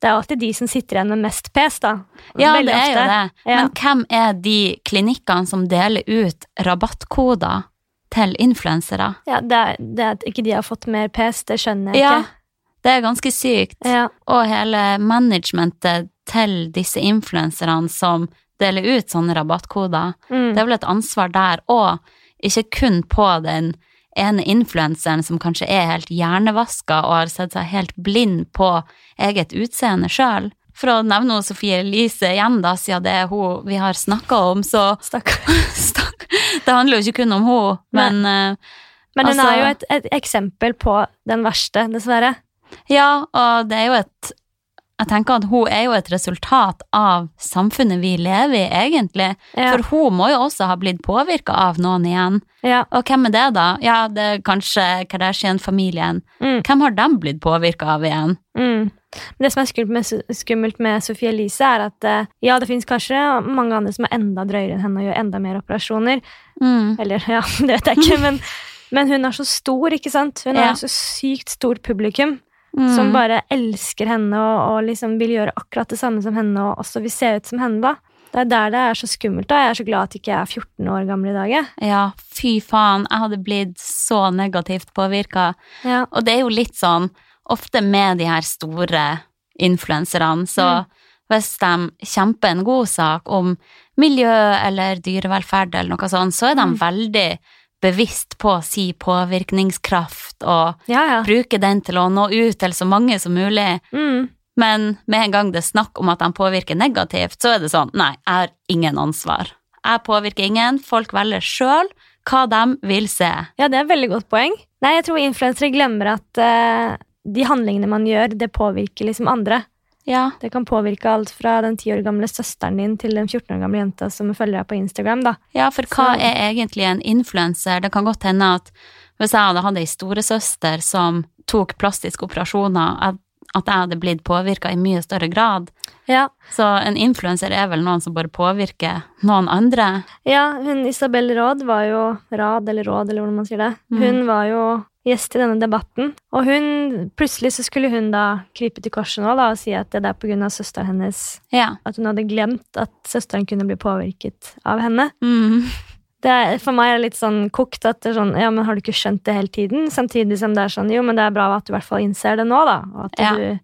Det er jo alltid de som sitter igjen med mest pes, da. Ja, Veldig det er jo ofte. det. Ja. Men hvem er de klinikkene som deler ut rabattkoder til influensere? Ja, det er, det er at ikke de har fått mer pes, det skjønner jeg Ja, ikke. det er ganske sykt. Ja. Og hele managementet til disse influenserne som deler ut sånne rabattkoder, Mm. det er vel et ansvar der òg, ikke kun på den ene influenseren som kanskje er helt hjernevaska og har sett seg helt blind på eget utseende sjøl. For å nevne hun Sofie Elise igjen, da, siden det er hun vi har snakka om, så Stakkar. Stakk- Det handler jo ikke kun om henne, men eh, Men hun Altså- er jo et, et eksempel på den verste, dessverre. ja, og det er jo et Jeg tenker at hun er jo et resultat av samfunnet vi lever i, egentlig. Ja. For hun må jo også ha blitt påvirka av noen igjen. ja. Og hvem er det, da? Ja, det er kanskje Kardashian-familien. Mm. Hvem har de blitt påvirka av igjen? Mm. Men det som er skummelt med, Su- skummelt med Sophie Elise, er at eh, ja, det fins kanskje mange andre som er enda drøyere enn henne og gjør enda mer operasjoner. Mm. Eller ja, <laughs> det vet jeg ikke, men, men hun er så stor, ikke sant? Hun Ja. har jo så sykt stort publikum Mm. som bare elsker henne og, og liksom vil gjøre akkurat det samme som henne og også vil se ut som henne, da. Det er der det er så skummelt. da. Jeg er så glad at ikke jeg er 14 år gammel i dag. jeg. Ja, fy faen, jeg hadde blitt så negativt påvirka. Ja. Og det er jo litt sånn, ofte med de her store influenserne, Mm. så hvis de kjemper en god sak om miljø eller dyrevelferd eller noe sånt, så er de Mm. veldig bevisst på si påvirkningskraft og Ja, ja. bruker den til å nå ut til så mange som mulig. Mm. Men med en gang det er snakk om at de påvirker negativt, så er det sånn nei, jeg har ingen ansvar. Jeg påvirker ingen, folk velger sjøl hva de vil se. Ja, det er et veldig godt poeng. Nei, jeg tror influensere glemmer at eh, de handlingene man gjør, det påvirker liksom andre. Ja, Det kan påvirke alt fra den 10 år gamle søsteren din til den 14 år gamle jenta som følger deg på Instagram, da. ja for hva Så- er egentlig en influenser? Det kan godt hende at hvis jeg hadde hatt ei storesøster som tok plastiske operasjoner, at, at jeg hadde blitt påvirka i mye større grad. Ja, Så en influenser er vel noen som bare påvirker noen andre. ja hun Isabel Råd var jo Rad, eller Råd, eller hvordan man sier det. Mm. Hun var jo gjest i denne debatten, og hun Plutselig så skulle hun da krype til korset nå, da, og si at det er på grunn av søsteren hennes Ja. At hun hadde glemt at søsteren kunne bli påvirket av henne. Mm. det er, for meg er det litt sånn kokt at det er sånn, ja, men har du ikke skjønt det hele tiden? Samtidig som det er sånn, jo, men det er bra at du i hvert fall innser det nå, da, og at Ja. du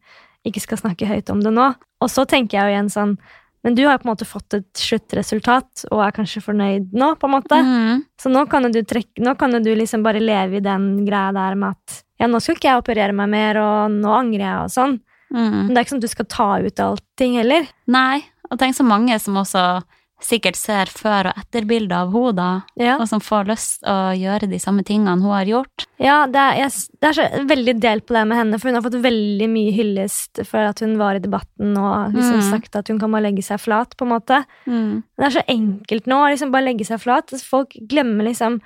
ikke skal snakke høyt om det nå. Og så tenker jeg jo igjen sånn, men du har jo på en måte fått et sluttresultat, og er kanskje fornøyd nå, på en måte. Mm. Så nå kan jo du, trekke, nå kan jo du liksom bare leve i den greia der med at, ja, nå skal ikke jeg operere meg mer, og nå angrer jeg, og sånn. Mm. Men det er ikke sånn at du skal ta ut allting heller. Nei, og tenk så mange som også sikkert ser før- og etterbilder av henne, da, Ja. og som får lyst å gjøre de samme tingene hun har gjort. Ja, det er, jeg, s- det er så veldig delt på det med henne, for hun har fått veldig mye hyllest for at hun var i debatten og liksom Mm. sagt at hun kan bare legge seg flat, på en måte. Men Det er så enkelt nå å liksom bare legge seg flat. Folk glemmer liksom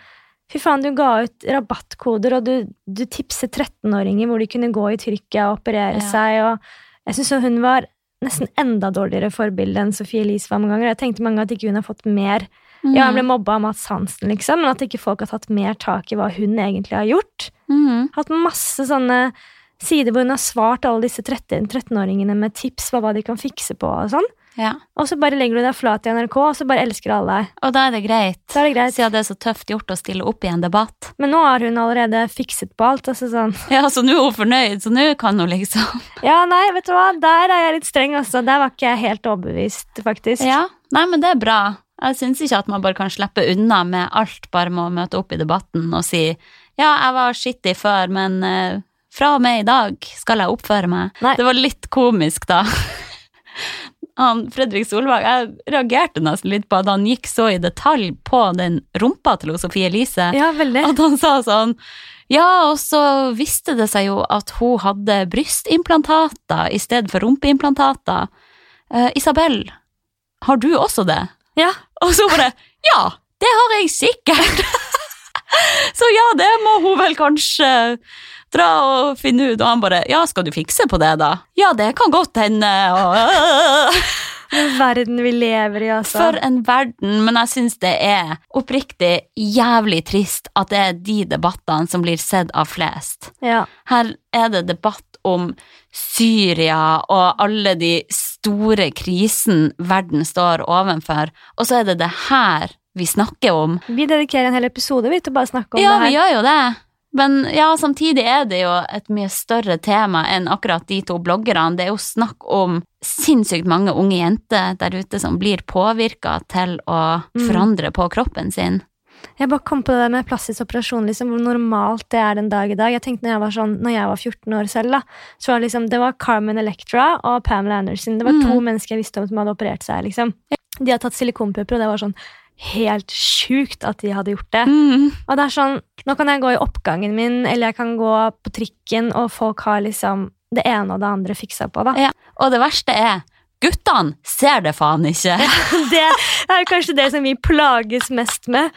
Fy faen, du ga ut rabattkoder, og du, du tipset 13-åringer hvor de kunne gå i Tyrkia og operere Ja. seg, og jeg syns hun var nesten enda dårligere forbilde enn Sophie Elise var mange ganger. Jeg tenkte mange ganger at ikke hun har fått mer. Mm. Ja, hun ble mobba av Mads Hansen, liksom, men at ikke folk har tatt mer tak i hva hun egentlig har gjort Mm. hatt masse sånne sider hvor hun har svart alle disse 13 13-åringene med tips på hva de kan fikse på og sånn. Ja. Og så bare legger du deg flat i NRK, og så bare elsker alle deg. Og da er det greit, Så er det greit. siden det er så tøft gjort å stille opp i en debatt. <laughs> Men nå har hun allerede fikset på alt. Altså sånn Ja, så nå er hun fornøyd, så nå kan hun liksom Ja, nei, vet du hva, der er jeg litt streng, altså. Der var ikke jeg helt overbevist, faktisk. Ja. Nei, men det er bra. Jeg syns ikke at man bare kan slippe unna med alt bare med å møte opp i debatten og si ja, jeg var skittig før, men eh, fra og med i dag skal jeg oppføre meg. Nei. Det var litt komisk, da. <laughs> Han, Fredrik Solvang, jeg reagerte nesten litt på at han gikk så i detalj på den rumpa til Sofie Elise. Ja, veldig. <laughs> At han sa sånn Ja, og så visste det seg jo at hun hadde brystimplantater i stedet for rumpeimplantater. Eh, Isabel, har du også det? Ja. Og så bare Ja, det <laughs> har jeg sikkert! <laughs> så ja, det må hun vel kanskje dra og finne ut. Og han bare Ja, skal du fikse på det, da? Ja, det kan godt hende. Og <laughs> Den verden vi lever i, altså. for en verden, men jeg syns det er oppriktig jævlig trist at det er de debattene som blir sett av flest. Ja. Her er det debatt om Syria og alle de store krisen verden står ovenfor, og så er det det her vi snakker om. Vi dedikerer en hel episode vi, til å bare snakke om Ja, det vi her. gjør jo det. Men ja, samtidig er det jo et mye større tema enn akkurat de to bloggerne. Det er jo snakk om sinnssykt mange unge jenter der ute som blir påvirka til å Mm. forandre på kroppen sin. Jeg bare kom på det der med plastisk operasjon, liksom, hvor normalt det er den dag i dag. Jeg tenkte når jeg var sånn, når jeg var 14 år selv, da, så var det liksom, det var Carmen Electra og Pamela Anderson. Det var Mm. to mennesker jeg visste om som hadde operert seg. liksom. De hadde tatt silikonpupper, og det var sånn helt sjukt at de hadde gjort det. Og det er sånn, nå kan jeg gå i oppgangen min, eller jeg kan gå på trikken, og folk har liksom det ene og det andre fiksa på. da. Ja. Og det verste er, Guttene ser det faen ikke. <laughs> <laughs> Det er kanskje det som vi plages mest med.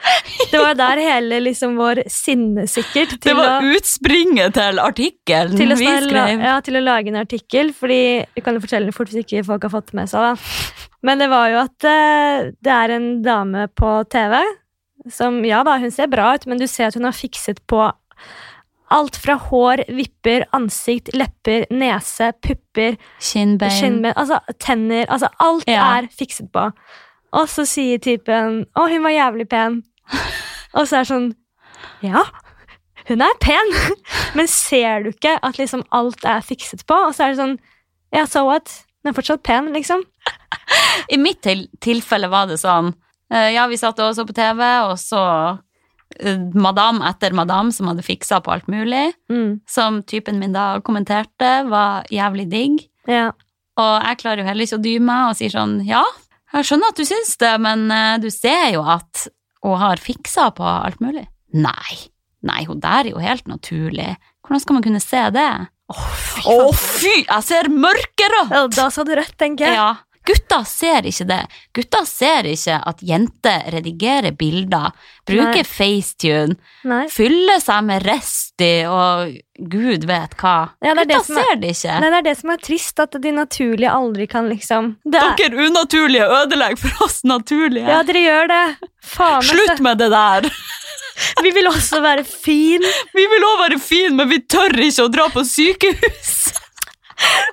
Det var der hele liksom vår sinne sikkert Det til, å, var utspringet til artikkelen til, å, vi snar- la- skrev. ja, til å lage en artikkel. Fordi Vi kan jo fortelle den fort hvis ikke folk har fått det med seg. Da. Men det var jo at eh, det er en dame på TV som Ja da, hun ser bra ut, men du ser at hun har fikset på alt fra hår, vipper, ansikt, lepper, nese, pupper Kinnbein. Skinnben, altså tenner, altså alt Ja. er fikset på. Og så sier typen 'Å, hun var jævlig pen'. <laughs> Og så er det sånn Ja, hun er pen, <laughs> men ser du ikke at liksom alt er fikset på? Og så er det sånn Ja, so what? Hun er fortsatt pen, liksom. I mitt til tilfelle var det sånn eh, Ja, vi satt og så på TV, og så eh, madam etter madam som hadde fiksa på alt mulig, Mm, som typen min da kommenterte, var jævlig digg. ja. Og jeg klarer jo heller ikke å dy meg og sier sånn Ja, jeg skjønner at du syns det, men eh, du ser jo at hun har fiksa på alt mulig. Nei. Nei, hun der er jo helt naturlig. Hvordan skal man kunne se det? Å, fy! jeg ser mørkerødt! Ja, Da sa du rødt, tenker jeg. Ja. Gutta ser ikke det. Gutta ser ikke at jenter redigerer bilder, bruker Nei. FaceTune, Nei. fyller seg med Resti og gud vet hva. Ja, det er det Gutta som er- ser det ikke. Nei, det er det som er trist, at de naturlige aldri kan liksom det er, Dere unaturlige ødelegger for oss naturlige. Ja, dere gjør det. Faen, altså. med det der! <laughs> Vi vil også være fin. Vi vil òg være fine, men vi tør ikke å dra på sykehus!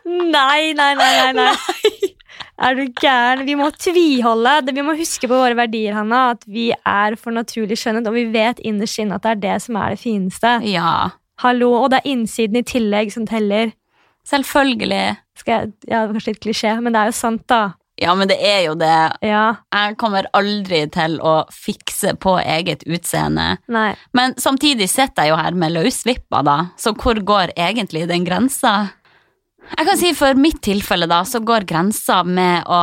Nei, nei, nei, nei, nei. Er du gæren? Vi må tviholde. Det- Vi må huske på våre verdier, Hanna. At vi er for naturlig skjønnhet, og vi vet innerst inne at det er det som er det fineste. <laughs> Ja, Hallo, Og det er innsiden i tillegg som teller. selvfølgelig. Skal jeg, ja, det var Kanskje litt klisjé, men det er jo sant, da. Ja, men det er jo det. Ja, Jeg kommer aldri til å fikse på eget utseende. nei. Men samtidig sitter jeg jo her med løsvippa, da, så hvor går egentlig den grensa? Jeg kan si for mitt tilfelle, da, så går grensa med å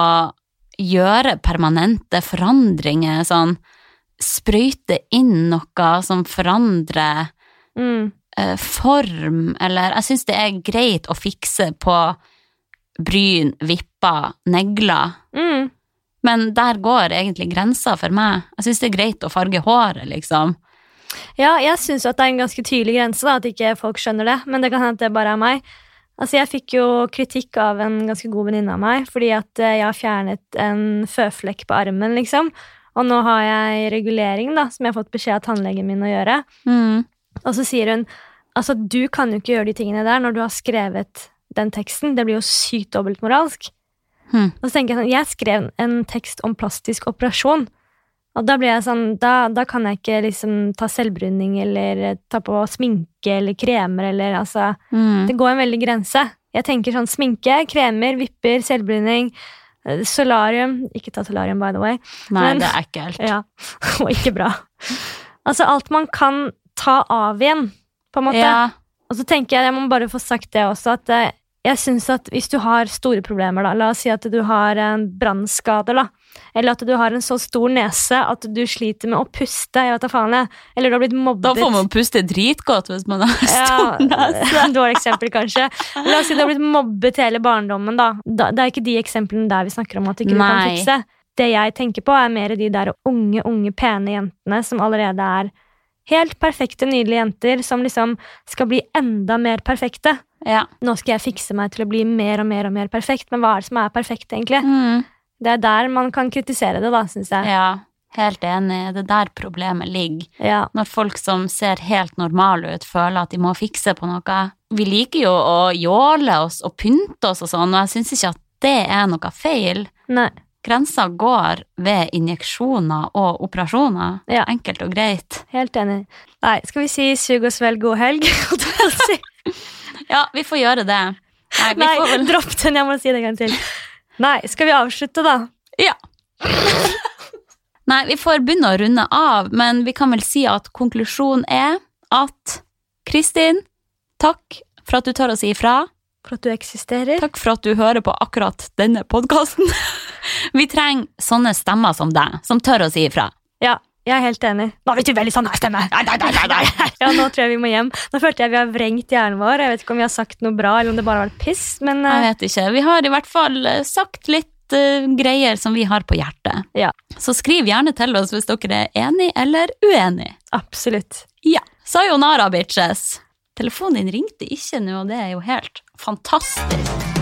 gjøre permanente forandringer, sånn sprøyte inn noe som forandrer Mm. eh, form, eller jeg syns det er greit å fikse på bryn, vipper, negler, Mm. men der går egentlig grensa for meg. Jeg syns det er greit å farge håret, liksom. Ja, jeg syns at det er en ganske tydelig grense, da, at ikke folk skjønner det. Men det kan hende at det bare er meg. Altså, Jeg fikk jo kritikk av en ganske god venninne av meg fordi at eh, jeg har fjernet en føflekk på armen, liksom. Og nå har jeg regulering, da, som jeg har fått beskjed av tannlegen min å gjøre. Mm. Og så sier hun altså, du kan jo ikke gjøre de tingene der når du har skrevet den teksten. Det blir jo sykt dobbeltmoralsk. Hmm. Og så tenker jeg sånn, jeg skrev en tekst om plastisk operasjon. Og da blir jeg sånn, da, da kan jeg ikke liksom ta selvbruning eller ta på sminke eller kremer eller altså Mm. Det går en veldig grense. Jeg tenker sånn sminke, kremer, vipper, selvbruning, eh, solarium Ikke ta solarium, by the way. Nei, Men- det <laughs> er ekkelt. Ja, og ikke bra. Altså alt man kan ta av igjen, på en måte. Ja, Og så tenker jeg, jeg må bare få sagt det også, at eh, jeg synes at hvis du har store problemer, da, la oss si at du har en brannskade, da, eller at du har en så stor nese at du sliter med å puste, jeg vet da faen jeg, eller du har blitt mobbet. da får man puste dritgodt hvis man har Ja, stor nese. <laughs> dårlig eksempel kanskje La oss si du har blitt mobbet hele barndommen da. da Det er ikke de eksemplene der vi snakker om At ikke du kan Nei. fikse Det jeg tenker på er mer de der unge, unge, pene jentene Som allerede er helt perfekte, nydelige jenter Som liksom skal bli enda mer perfekte Ja. Nå skal jeg fikse meg til å bli mer og mer og mer perfekt Men hva er det som er perfekt egentlig? Mm. Det er der man kan kritisere det da, synes jeg ja, helt enig. Det er der problemet ligger. Ja, Når folk som ser helt normale ut, føler at de må fikse på noe. Vi liker jo å jåle oss og pynte oss og sånn, og jeg syns ikke at det er noe feil. nei Grensa går ved injeksjoner og operasjoner. Ja. Enkelt og greit. Helt enig. Nei, skal vi si sug og svelg god helg? <laughs> holdt jeg på å si. Ja, vi får gjøre det. Nei, <laughs> vi får Nei, vel dropp den, jeg må si det en gang til. Nei, skal vi avslutte, da? Ja. Nei, vi får begynne å runde av, men vi kan vel si at konklusjonen er at Kristin, takk for at du tør å si ifra. For at du eksisterer. Takk for at du hører på akkurat <laughs> denne podkasten. Vi trenger sånne stemmer som deg, som tør å si ifra. Ja, Jeg er helt enig. Nå vet du veldig sånn her stemme! Nei, nei, nei, nei, nei. Ja, nå tror jeg vi må hjem. Nå følte jeg vi har vrengt hjernen vår. Jeg vet ikke om vi har sagt noe bra, eller om det bare har vært piss, men Jeg eh, vet ikke. Vi har i hvert fall eh, sagt litt eh, greier som vi har på hjertet. eh, Ja. Så skriv gjerne til oss hvis dere er enig eller uenig. absolutt. Ja. Sayonara, bitches! Telefonen din ringte ikke nå, og det er jo helt fantastisk.